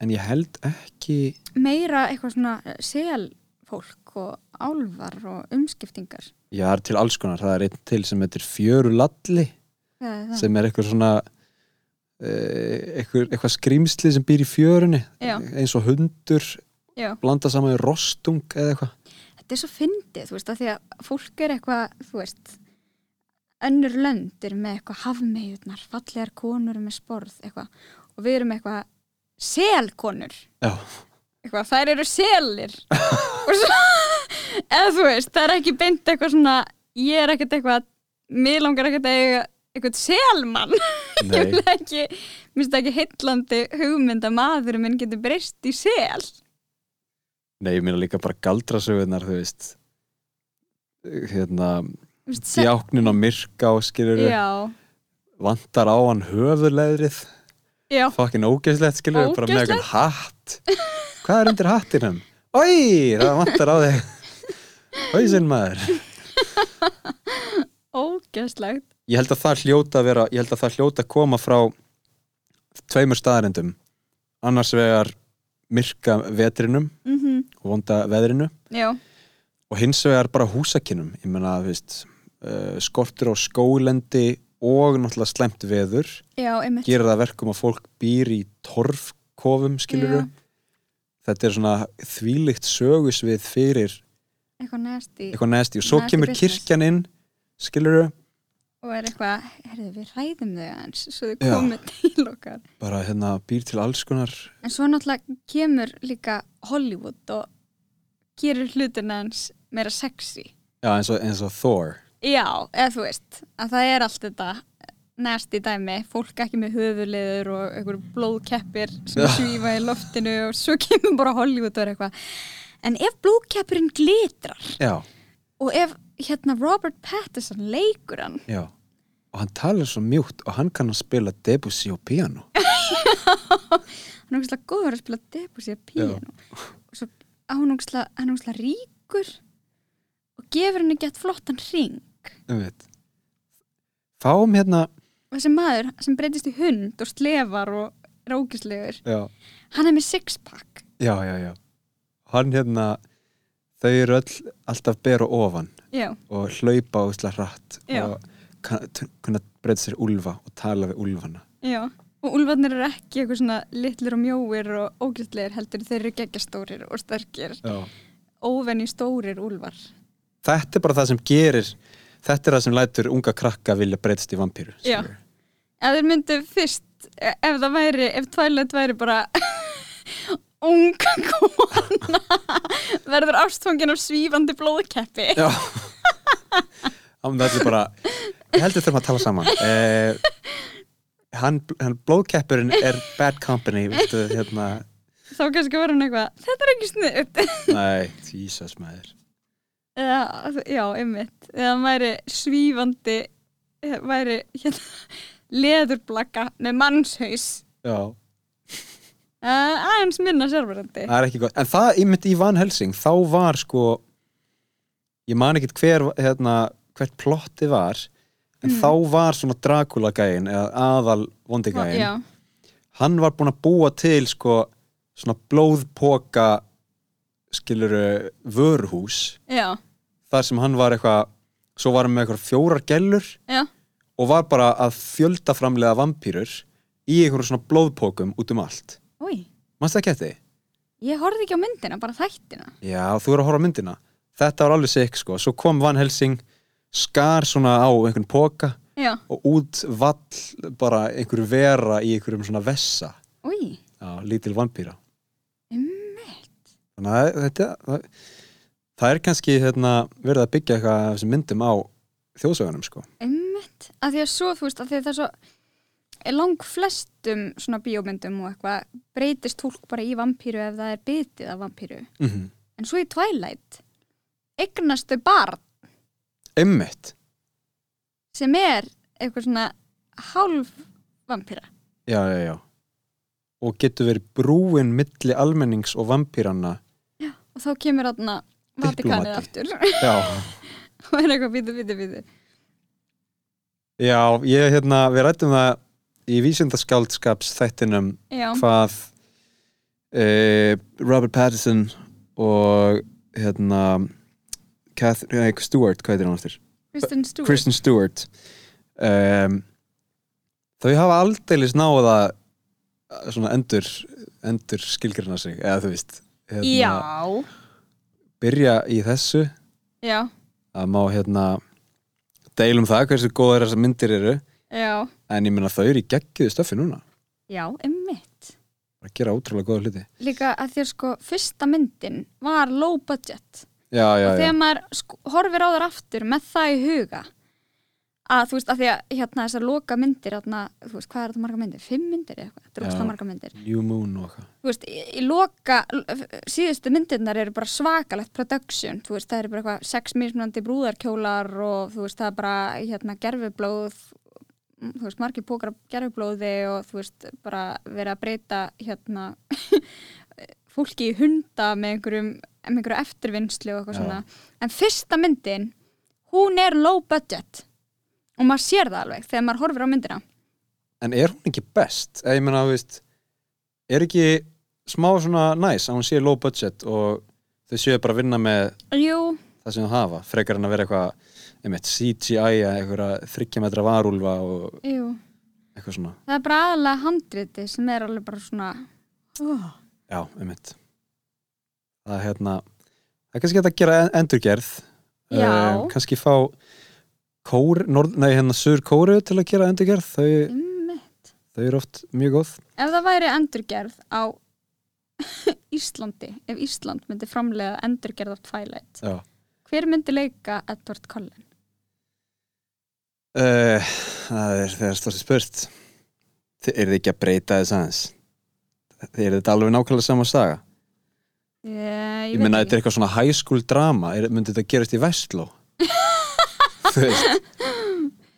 en ég held ekki,
meira eitthvað svona eh, selfólk og álvar og umskiptingar
já, það er til alls konar, það er einn til sem heitir Fjörulalli.
Það er það.
sem er eitthvað svona eh, eitthvað, eitthvað skrýmsli sem býr í fjörunni
Já.
eins og hundur
Já.
blanda saman í rostung eða eitthvað
þetta er svo fyndið, þú veist, að því að fólk er eitthvað, þú veist önnur lönd eru með eitthvað hafmeyðunar, fallegar konur með sporð, eitthvað, og við erum með eitthvað selkonur,
Já.
eitthvað, þær eru selir og svo eða þú veist, það er ekki beint eitthvað svona ég er ekkert eitthvað, mér langar ekkert að eiga eitthvað selmann ég
Nei,
vil ekki, minnst það ekki heitlandi hugmynd að maður minn getur breyst í sel
nei, ég meina líka bara galdrasögunar, þú veist hérna
Minnst, sel
djáknin á myrká skilur
já,
vantar á hann höfuleðrið
já,
Fucking ógeðslegt skilur við bara með
Ógeðslegt?
eitthvað hatt Hvað er undir hattinum? Oi, það vantar á þig Hauðsinn maður
ógeðslegt
Ég held að það hljóta að vera Ég held að það hljóta að koma frá tveimur staðarindum annars vegar myrka vetrinum
mm
og vonda veðrinu
já,
og hins vegar bara húsakinnum ég meina, þú veist, uh, skortur á skólendi og náttúrulega slemt veður
já, einmitt
gera það að verkum að fólk býr í torfkofum skiluru
Já.
þetta er svona þvílikt sögusvið fyrir
eitthvað næsti
eitthvað næsti og svo
Nasty
kemur
business.
kirkjan inn skiluru,
og er eitthvað, herðu við ræðum þau aðeins svo þau
Já.
komið til okkar
bara hérna býr til alls konar
en svo náttúrulega kemur líka Hollywood og gerir hlutin aðeins meira sexy
já, eins, og, eins og Thor
já, eða þú veist að það er allt þetta næsti dæmi, fólk ekki með höfuleður og einhver blóðkeppir sem
Já.
svífa í loftinu og svo kemur bara Hollywood og er eitthvað en ef blóðkeppirinn glitrar
já,
og ef hérna Robert Pattinson leikur hann
já og hann talar svo mjúkt og hann kann að spila Debussy og piano
hann er ógæslega góður að spila Debussy að píano og svo á hann ógæslega hann er ógæslega ríkur og gefur henni gett flottan ring
Einmitt. fáum hérna
og þessi maður sem breytist í hund og slefar og rókislegur
já,
hann er með sixpack
já, já, já. hann hérna þau eru öll alltaf bera ofan
já,
og hlaupa úslega hratt
Já.
og kann- t- kunna breyta sér úlfa og tala við úlfana
já og úlfarnir eru ekki eitthvað svona litlir og mjóir og ógæslegur heldur þeir eru geggjastórir og sterkir
Já.
óvenni stórir úlfar
þetta er bara það sem gerir þetta er það sem lætur unga krakka vilja breytast í vampíru
Já.
skilurðu.
ef þeir myndu fyrst e, ef það væri, ef Twilight væri bara unga kona verður ástfangin af svífandi blóðkeppi
Já. Þannig að þetta er bara ég heldur þurfum að tala saman eh, hann, hann blóðkeppurinn er bad company viltu, hérna,
þá kannski verður hann eitthvað, þetta er ekki sniðut
nei, Jesus maður
já, einmitt eða hann væri svífandi eh, væri hérna leðurblakka með mannshaus
Já.
Eh, aðeins minna sjálfurandi
það er ekki gott en það ymmit í Van Helsing þá var sko ég man ekkit hver hérna, hvert plotti var en þá var svona Dracula gæin eða aðal vondi
já,
gæin hann var búinn að búa til sko svona blóðpoka skiluru vöruhús
já,
þar sem hann var eitthvað svo var hann með eitthvað fjórar gellur
já,
og var bara að fjölda framlega vampýrur í einhverjum svona blóðpokum út um allt
úi
mannst það ekki eftir því?
ég horfði ekki á myndina, bara þættina
Já, þú er að horfa á myndina Þetta var alveg sikk sko, svo kom Van Helsing skar svona á einhvern póka
já,
og út vall bara einhver vera í einhverjum svona vessa
úi,
á lítil vampýra
einmitt
Þannig að þetta það, það er kannski hérna, verið að byggja eitthvað af þessum myndum á þjóðsögunum sko
Einmitt, að því að svo, þú veist, að því að það er svo er lang flestum svona bíómyndum og eitthvað breytist fólk bara í vampíru ef það er bitið af vampíru.
mm
En svo í Twilight eignast þau barn
Einmitt,
sem er eitthvað svona hálf vampíra.
já, já, já og getur verið brúin milli almennings og vampýranna
Og þá kemur þarna Vatikanið aftur og
Já
er eitthvað býtu, býtu, býtu.
Já, ég hérna, við rættum það í vísindaskáldskaps þættinum
Já,
hvað uh, Robert Pattinson og hérna Kath, eh, Stewart, hvað heitir hann aftur?
Kristen Stewart.
Kristen Stewart um, þau hafa aldeilis náða svona endur endur skilgrina sig, eða þú veist hérna,
Já,
byrja í þessu
já,
að má hérna deilum það hversu góðar þessar myndir eru
já,
en ég meina þau eru í geggiðu stöffi núna
já, einmitt.
að gera ótrúlega góða hluti
Líka að því að sko fyrsta myndin var low budget.
já, já,
og
já,
þegar maður sk- horfir á þar aftur með það í huga að þú veist, að því að hérna þessar loka myndir, hérna, þú veist, hvað er þetta marga myndir? Fimm myndir eða eitthvað, þetta er
Já.
ógstlega marga myndir
New Moon og eitthvað
þú veist, í, í loka l- síðustu myndirnar eru bara svakalegt production, þú veist, það eru bara eitthvað sex mismunandi brúðarkjólar og þú veist, það er bara hérna gerfublóð þú veist, margir pókar af gerfublóði og þú veist, bara verið að breyta hérna fólki í hunda með einhverjum með einhverju eftirvinnslu og eitthvað
Já.
svona en fyrsta myndin, hún er low budget og maður sér það alveg þegar maður horfir á myndina
En er hún ekki best? Eða, ég meina, þú veist, er ekki smá svona næs að hún sé low budget og þau séu bara að vinna með
Jú,
það sem þau hafa, frekar en að vera eitthvað einmitt CGI eða eitthvað þryggjametra varúlfa og
jú
eitthvað svona
það er bara aðalega handriti sem er alveg bara svona oh.
Já, einmitt Það er hérna það er kannski hægt að gera en- endurgerð
Já.
Eh, kannski fá kór, norð, nei, hérna sur kóru til að gera endurgerð þau,
Mm.
þau eru oft mjög góð
Ef það væri endurgerð á Íslandi, ef Ísland myndi framlega endurgerð af Twilight,
Já
hver myndi leika Edward Cullen?
Uh, það er þegar stóðsir spurt Þið eru ekki að breyta þess aðeins Þið eru þetta alveg nákvæmlega sama saga
Ég,
Ég meina þetta er eitthvað svona high school drama er, myndi þetta gerast í Vestló Þú veist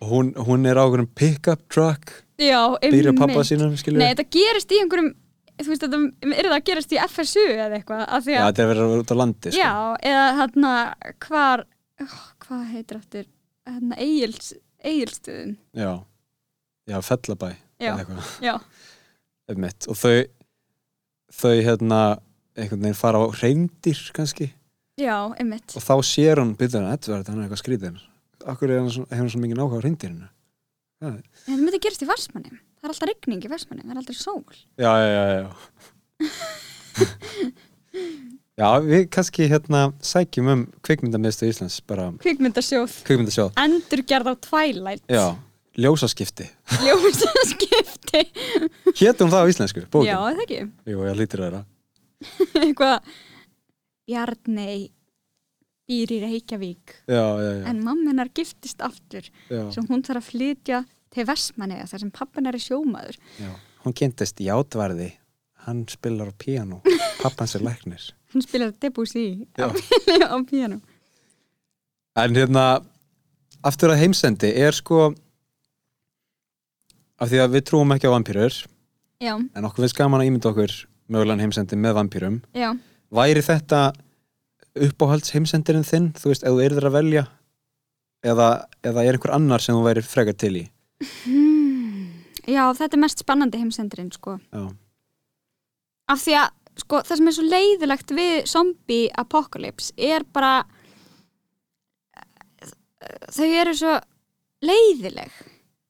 Og hún, hún er á einhverjum pick-up truck
Já,
býr á pappa
einmitt.
sínum skilur
Nei, þetta gerist í einhverjum, þú veist, þetta er það að gerast í FSU eða eitthvað, af því
Já,
að,
þetta er verið að vera út á landi sko.
já, eða hérna, hvar, oh, hvað heitir aftur, hérna, Egils, Egilstöðum,
já, já fellabæ
Já.
eða eitthvað,
já,
einmitt. Og þau þau hérna einhvern veginn fara á reyndir kannski
já, einmitt,
og þá sér hún, byrður hann, Edvard, hann er eitthvað skrýðin Akkur er hann svo, hefur hann svo mikið nákvæm á reyndirinu
þetta myndi gerast í Varsmanni, það er alltaf rigning í Varsmanni, það er aldrei sól.
Já, já, já, já Já, við kannski hérna sækjum um kvikmyndamiðstu Íslands bara
Kvikmyndasjóð.
kvikmyndasjóð
endurgerð á Twilight
Já, ljósaskipti
ljósaskipti
Hétu hún það á íslensku, bókin?
já, það ekki
Jú, ég lítur þeirra
eitthvað Bjarnei býr í Reykjavík
Já, já, já,
en mamminar giftist aftur
já.
sem hún þarf að flytja til Vestmanneja þar sem pappinar er sjómaður
Já, hún kynntist í átvarði hann spilar á píanó pappans er læknir
hann spilar Debussy
Já.
á á piano
en hérna, aftur að heimsendi er sko af því að við trúum ekki á vampýrur
já,
en okkur finnst gaman að ímynda okkur mögulegan heimsendi með vampýrum
já,
væri þetta uppáhalds heimsendirinn þinn, þú veist, ef þú erður að velja eða, eða er einhver annar sem þú væri frekar til í
Hmm. já þetta er mest spannandi heimsendurinn sko
já,
af því að sko, það sem er svo leiðilegt við zombie apocalypse er bara þau eru svo leiðileg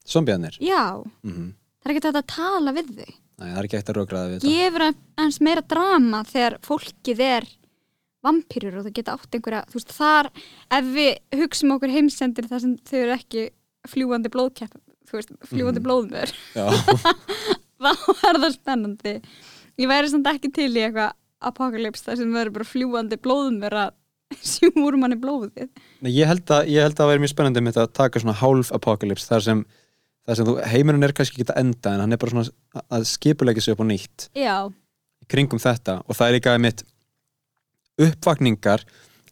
zombjarnir
já,
mm -hmm.
það er ekki þetta að tala við þau
Nei, það er ekki ekkert að rökraða við þetta
gefur eins meira drama þegar fólkið er vampýrur og þau geta átt einhverja þú veist, þar, ef við hugsum okkur heimsendir þar sem þau eru ekki fljúandi blóðkepp þú veist, fljúandi
Mhm.
blóðmör
já,
þá er það spennandi ég væri samt ekki til í eitthvað apokalips þar sem verður bara fljúandi blóðmör að sjúmur manni blóðið
Nei, ég held að ég held að það væri mjög spennandi með þetta að taka svona hálf apocalypse þar sem, þar sem þú, heimurinn er kannski ekki að enda en hann er bara svona að- að skipulegja sig upp á nýtt
já,
í kringum þetta og það er líka mitt uppvakningar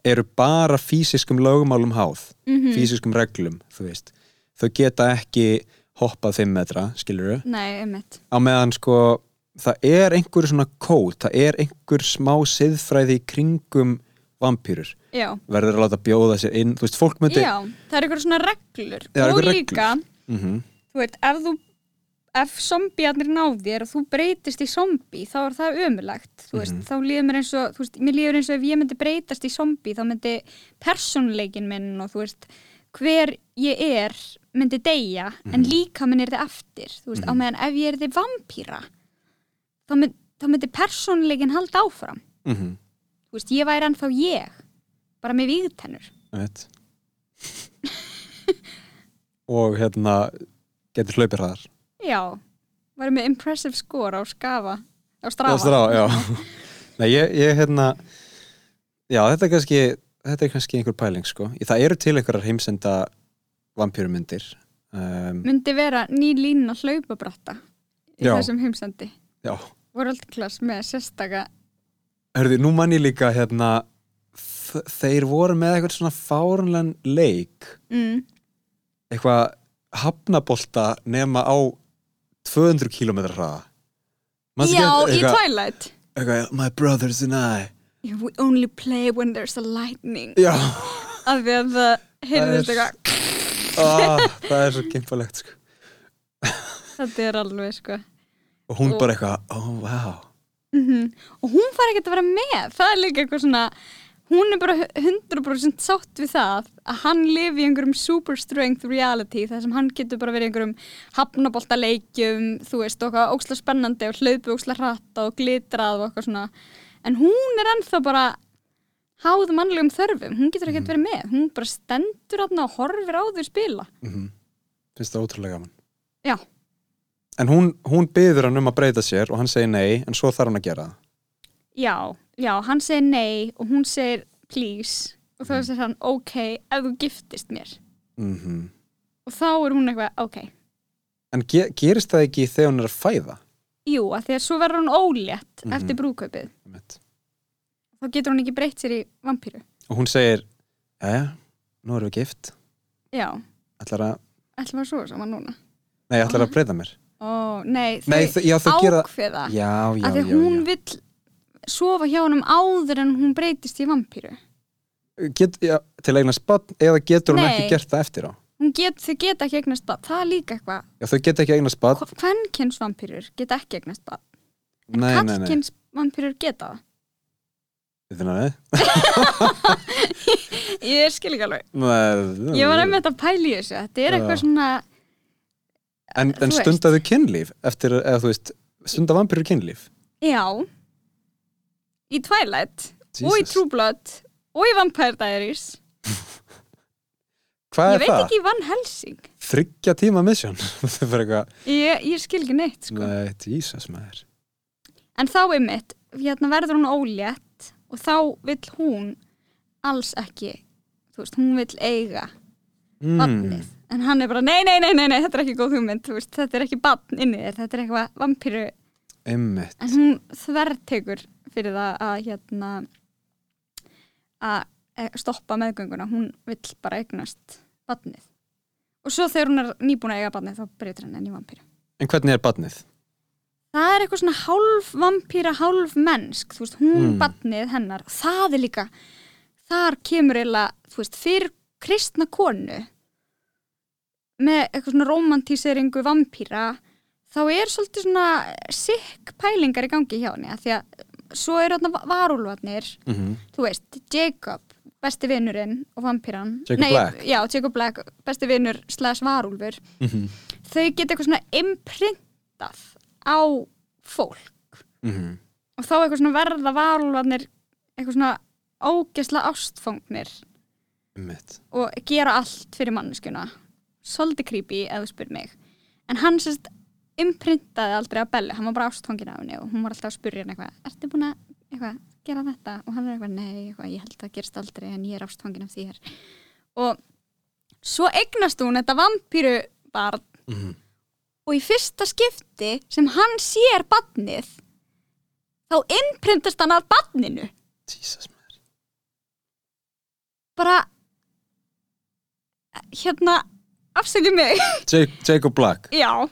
eru bara fysiskum lögumálum háð
mm
fysiskum reglum, þú veist þau geta ekki hoppað 5 metra, skilur
nei, einmitt
á meðan sko það er einhver svona kód, það er einhver smá siðfræði í kringum vampýrur,
já,
verður að láta bjóða sér inn, þú veist, fólk myndi
já, það er eitthvað svona reglur
Já,
og
einhverjar reglur.
líka,
Mhm.
þú veit, ef þú ef zombiarnir náð þér og þú breytist í zombi, þá er það ömulagt þú veist, þá líður mér eins og þú veist, mér líður eins og ef ég myndi breytast í zombi þá myndi persónuleikin minn og þú veist, hver ég er myndi deyja, en líka minn er þið eftir, þú veist, á meðan ef ég er þið vampýra þá, mynd, þá myndi persónuleikin halda áfram
Mm -hmm.
þú veist, ég væri ennþá ég bara með vígtennur
Einmitt. og hérna getur hlaupir hraðar
já, væri með impressive score á skafa á strafa,
Já, strá, já. Nei, ég, ég hérna já, þetta er kannski þetta er kannski einhver pæling sko Í- það eru til einhverjar heimsenda vampýrumyndir um,
myndi vera ný lína hlaupabratta í
Já.
þessum heimsendi
já,
World Class með sérstaka
hörðu, nú mann ég líka hérna þ- þeir voru með eitthvað svona fárunlegan leik
mm.
eitthvað hafnabolta nema á 200 km hraða Manstu
Já,
ekki
í
eitthvað-
Twilight
eitthvað, My brothers and I
yeah, We only play when there's a lightning
Já,
Af því að það heyrðist
Það er-
eitthvað
ah, það er svo gimpalegt sko.
Þetta er alveg sko
og hún
Og-
bara eitthvað, oh wow
Mhm. og hún fær ekki að vera með það er líka eitthvað svona hún er bara 100% sátt við það að hann lifi í einhverjum super strength reality þar sem hann getur bara verið í einhverjum hafnabolta leikjum þú veist, og eitthvað óksla spennandi og hlaupu óksla hratta og glitrað og eitthvað svona en hún er ennþá bara háð mannlegum þörfum hún getur ekki að vera með, hún bara stendur hann og horfir á þau spila
mm finnst það ótrúlega gaman
Já.
en hún, hún byður hann um að breyta sér og hann segir nei, en svo þarf hann að gera það
já, já, hann segir nei og hún segir please og þá segir hann ok, ef þú giftist mér
mm
og þá er hún eitthvað, ok
en ge gerist það ekki þegar hún er að fæða
jú, að því að svo verður hún ólétt
Mhm.
eftir brúkaupið,
Einmitt.
þá getur hún ekki breytt sér í vampíru,
og hún segir, jæja, nú erum við gift
já
ætlar að,
ætlum við að svo saman núna
nei,
Ah.
ætlar að breyta mér
ó, nei, þau
nei, þau- já, þau gera það
ákveða
já, já,
að
já,
Ah. því að hún
já.
vill sofa hjá honum áður en hún breytist í vampíru
Get, já til eignan spatt, eða getur hún
Nei.
ekki gert það eftir á
Hún get, þau geta ekki eignast bad, það er líka eitthvað
já, þau geta ekki eignan spatt
hvernkyns vampýrur geta ekki eignast bad en
nei, nei, nei,
kallkyns vampýrur geta það
Þið finna það?
Ég skil ekki alveg.
nei
Ég var einmitt að pæla í þessu. Þetta er eitthvað
Já.
svona,
en, en
þú veist.
stundaðu kynlíf eftir, eða þú veist, stunda vampirur kynlíf
já, í Twilight og í
Jesus.
True Blood og í Vampire Diaries.
Hvað
Ég
er
veit
það?
ekki í Van Helsing.
Þryggja tíma mission Það er eitthvað,
Ég, ég skil ekki neitt, sko.
nei, Jesus maður
En þá einmitt, hérna verður hún ólétt og þá vill hún alls ekki, þú veist, hún vill eiga
Hmm.
barnið.
Mm,
En hann er bara, nei, nei, nei, nei, nei, þetta er ekki góð hugmynd, þú veist, þetta er ekki barn inni þér, þetta er eitthvað vampíru
Einmitt
en hún þvertekur fyrir það að hérna að eh, stoppa meðgönguna hún vill bara eignast badnið og svo þegar hún er nýbúin að eiga badnið þá breytir henni í vampýru
En hvernig er barnið?
það er eitthvað svona hálf vampýra hálf mennsk, þú veist, hún
Mm.
mm. hennar, það er líka þar kemur eiginlega, þú veist, fyrir kristna konu með eitthvað svona romantíseringu vampýra þá er svolítið svona sikk pælingar í gangi hjá henni af því að svo eru þarna varúlfarnir
Mm -hmm.
þú veist, Jacob, besti vinnurinn og vampýran
Jacob Black.
já, Jacob Black, besti vinnur slash varúlfur
Mm -hmm.
þau geta eitthvað svona imprintað á fólk og þá eitthvað svona verða varúlfarnir eitthvað svona ógesla ástfangnir
Einmitt
og gera allt fyrir manneskuna svolítið creepy ef þú spyr mig en hann sérst imprintaði aldrei á Bellu, hann var bara ástfangin af henni og hún var alltaf að spyrja hann eitthvað, ertu búin að eitthvað, gera þetta og hann er eitthvað, nei, eitthvað, ég held að það gerist aldrei en ég er ástfangin af þér og svo eignast hún þetta vampíru barn
mm -hmm.
og í fyrsta skipti sem hann sér barnið þá imprintast hann að barninu
Jesus maður
bara hérna afsækja mig
Jake, Jacob Black
Já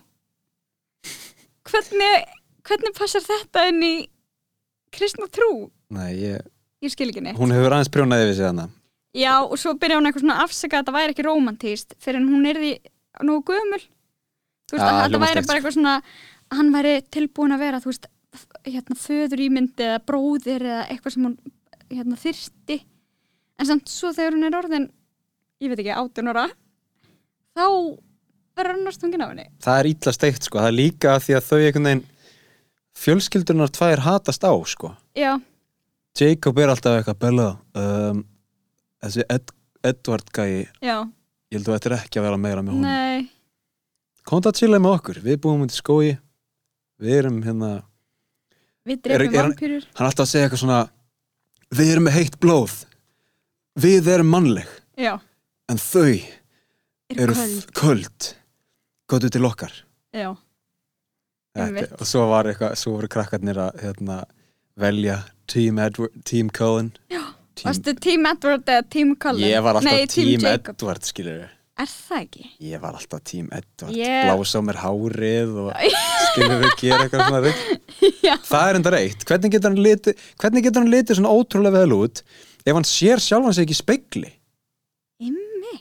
Hvernig, hvernig passar þetta inn í kristna trú?
Nei, ég,
Ég skil ekki neitt
hún hefur aðeins prjónaði við sig hana
Já, og svo byrja hún eitthvað svona að afsaka að þetta væri ekki romantíst fyrir en hún er því nú gömul Þú veist,
Ah,
að þetta
hljómar
væri
steikt,
bara
sko.
eitthvað svona að hann væri tilbúin að vera, þú veist f- hérna, föður ímyndi eða bróðir eða eitthvað sem hún hérna, þyrsti en samt svo þegar hún er orðin ég veit ekki, 18 ára þá verður hann ástungin af henni
Það er illa steikt sko, það er líka af því að þau einhvern veginn fjölskyldunar tvær hatast á sko
Já,
Jacob er alltaf eitthvað Bella um, þessi Ed, Edward gæi
já,
ég held að þetta er ekki að vera meira með honum
nei
kom það til að með okkur, við búum út í skói við erum hérna hann
Við
Er-
drefum
er hann-
vampýrur.
er alltaf að segja eitthvað svona við erum með heitt blóð við erum mannleg
Já.
en þau
Eru
eru
köld.
köld gotu til okkar
Já.
þetta,
Einmitt.
og svo var eitthvað, svo voru krakkarnir að hérna, velja Team, Edward, team Cullen Já,
Varstu Team Edward eða Team Cullen?
ég var alltaf
Nei,
Team,
Jacob.
Edward skilur
er það ekki?
Ég var alltaf tím Edvard,
Ég-
blása á mér hárið og skilur við gera eitthvað svona rugl.
Já.
Það er enda reitt. Hvernig getur hann litið, hvernig getur hann litið svona ótrúlega vel út ef hann sér sjálfan sig ekki í spegli?
Immi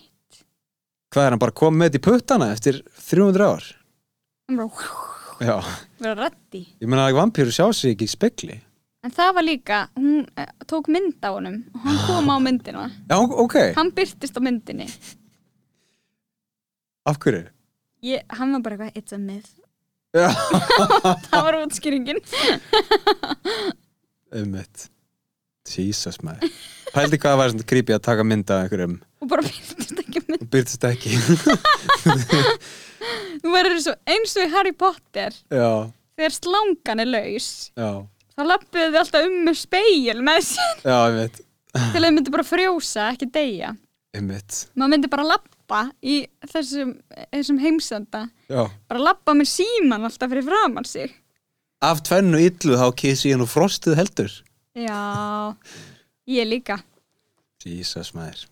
Hvað er hann bara komið með þetta í puttana eftir 300 ár?
Það er bara
Já,
vera rætti
ég meina að vampýru sjá sig ekki í spegli.
En það var líka, hún eh, tók mynd á honum og hann kom á myndina
Já, ok,
Hann byrtist á myndinni
af hverju?
Ég, Hann var bara eitthvað, it's a myth
Já.
Það var útskýringin
Ummitt. Jesus maður. Pældi hvað það var svona creepy að taka mynda af einhverjum
og bara byrtist ekki á mynd
og byrtist ekki.
Þú verður svo eins og í Harry Potter
já,
þegar slangan er laus
já,
þá lappuðu þið alltaf um með speil með sér
já, ummitt.
til að þið myndi bara frjósa, ekki deyja
Ummitt,
maður myndi bara lappa í þessum, þessum heimsenda
já.
bara lappa með síman alltaf fyrir framann sig
Af tvennu illu þá kissi ég nú frostið heldur.
Já, ég líka
Jesus maður.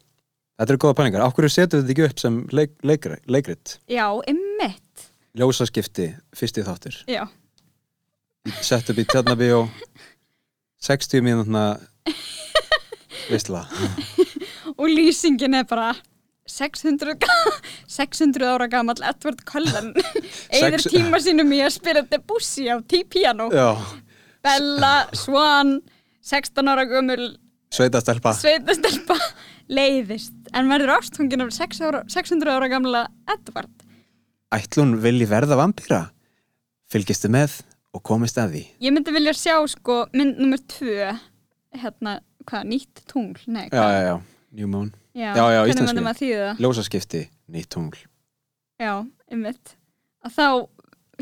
Þetta eru góða pælingar. Af hverju setum við þetta ekki upp sem leik, leikri, leikrit?
Já, ymmit
Ljósaskipti, fyrsti þáttur.
Já,
Sett upp í tjarnabíó, 60 mínútna visla.
og lýsingin er bara 600, ga- 600 ára gamall Edward Cullen eður
Sex-
tíma sínum í að spila Debussy á T-piano
Já,
Bella Swan 16 ára gömul Ah.
sveitastelpa.
sveitastelpa leiðist en verður ástungin af 6 ára- 600 ára gamla Edward
ætlun vilji verða vampýra? Fylgistu með og komist að því.
ég myndi vilja sjá sko mynd nummer 2 hérna, hvað, nýtt tungl nei,
Já,
hvað,
já, já. New Moon.
já,
já, já,
hvernig
íslenskri.
myndum að þýða það?
Ljósaskipti, nýtt tungl.
já, einmitt að þá,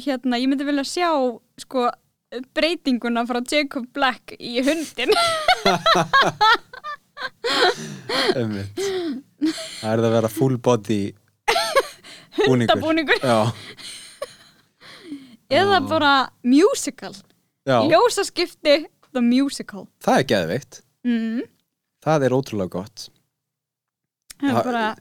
hérna, ég myndi vilja sjá sko breytinguna frá Jacob Black í hundin
Ömmit. Það er það að vera full body búningur.
hundabúningur,
Já,
eða bara musical,
já.
ljósaskipti the musical
Það er geðveikt.
mm,
Það er ótrúlega gott.
það
Já,
er bara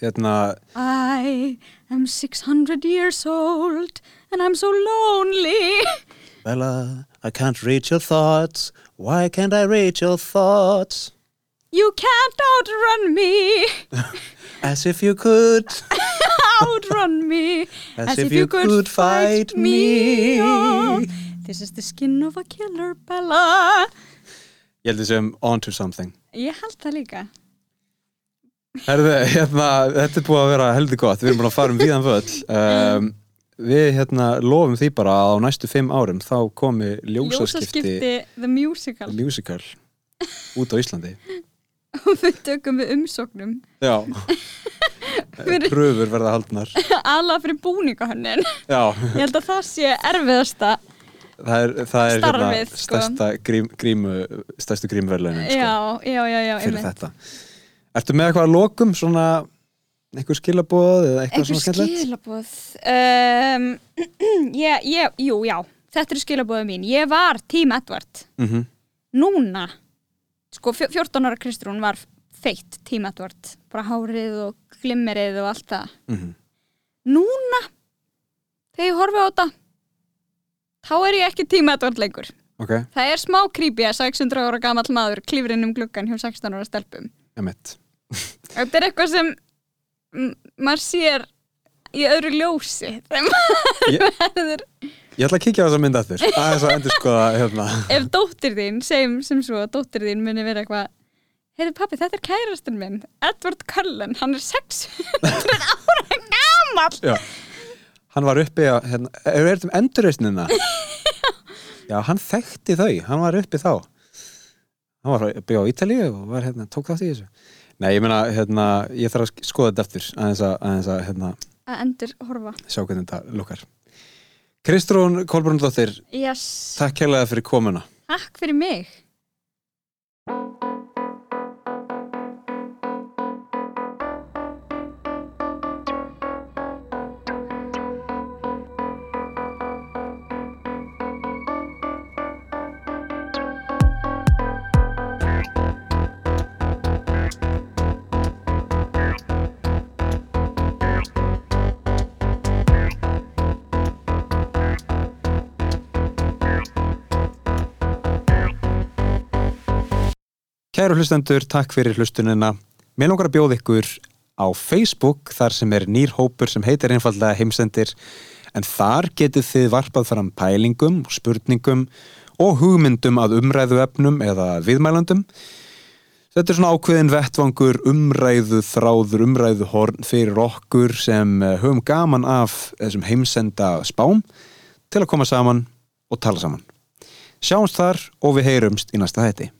Hérna,
I am 600 years old and I'm so lonely
Bella, I can't read your thoughts. Why can't I read your thoughts?
You can't outrun me
As if you could.
Outrun me
As if you could fight me.
Oh, This is the skin of a killer Bella
Ég held þessum onto something.
Ég held það líka
Herðu, hérna, þetta er búið að vera heldur gott, við erum búin að fara um víðan völl um, Við hérna lofum því bara að á næstu fimm árum þá komi ljósaskipti,
The Musical
musical út á Íslandi
og við tökum við umsóknum
Já
Fyrir-
Pröfur verða haldnar
alla fyrir búningahönnin
Já,
Ég held að það sé erfiðasta
það er, það er
Starfið, sko.
stærsta grím, grímu, stærstu grímverðlaunin sko,
Já, já, já, já
fyrir
einmitt.
þetta Ertu með eitthvað að lokum, svona einhver skilabóð eða eitthvað
einhver
svona skemmtilegt?
skilabóð um, ég, ég, jú, já þetta eru skilabóðu mín, ég var tím Edward
Mm
núna sko, fjó- 14 ára Kristrún var feitt tím Edward, bara hárið og glimmerið og allt það
mhm.
núna, þegar ég horfi á þetta þá er ég ekki tím Edward lengur
Ok,
það er smá creepy að 600 ára gamall maður klífur inn um gluggan hjá 16 ára stelpum
emitt
Þetta er eitthvað sem mm, maður sér í öðru ljósi þegar maður
Ég-
verður
Ég ætla að kíkja á þessa mynd aftur aðeins að endur skoða hérna
ef dóttir þín, segjum sem svo að dóttir þín muni vera eitthvað heyrðu pappi, þetta er kærastinn minn Edward Cullen, hann er 600 ára gamall
Já. Hann var uppi að, hérna, er þetta um endurreisnina? Já, hann þekkti þau, hann var uppi þá Hann var uppi á Ítalíu og var, hérna, tók þátt í þessu Nei, ég meina, hérna, ég þarf að skoða þetta aftur aðeins að, aðeins að hérna,
að endur horfa
sjá hvernig þetta lukkar Kristrún Kolbrúndóttir,
yes,
takk hérlega fyrir komuna
takk fyrir mig
Kæru hlustendur, takk fyrir hlustunina. Mér langar að bjóða ykkur á Facebook þar sem er nýr hópur sem heitir einfallega heimsendir en þar getið þið varpað fram pælingum, og spurningum og hugmyndum að umræðuefnum eða viðmælandum. Þetta er svona ákveðin vettvangur umræðu þráður, umræðu horn fyrir okkur sem eh, höfum gaman af þessum heimsenda spám til að koma saman og tala saman. Sjáumst þar og við heyrumst í næsta hætti.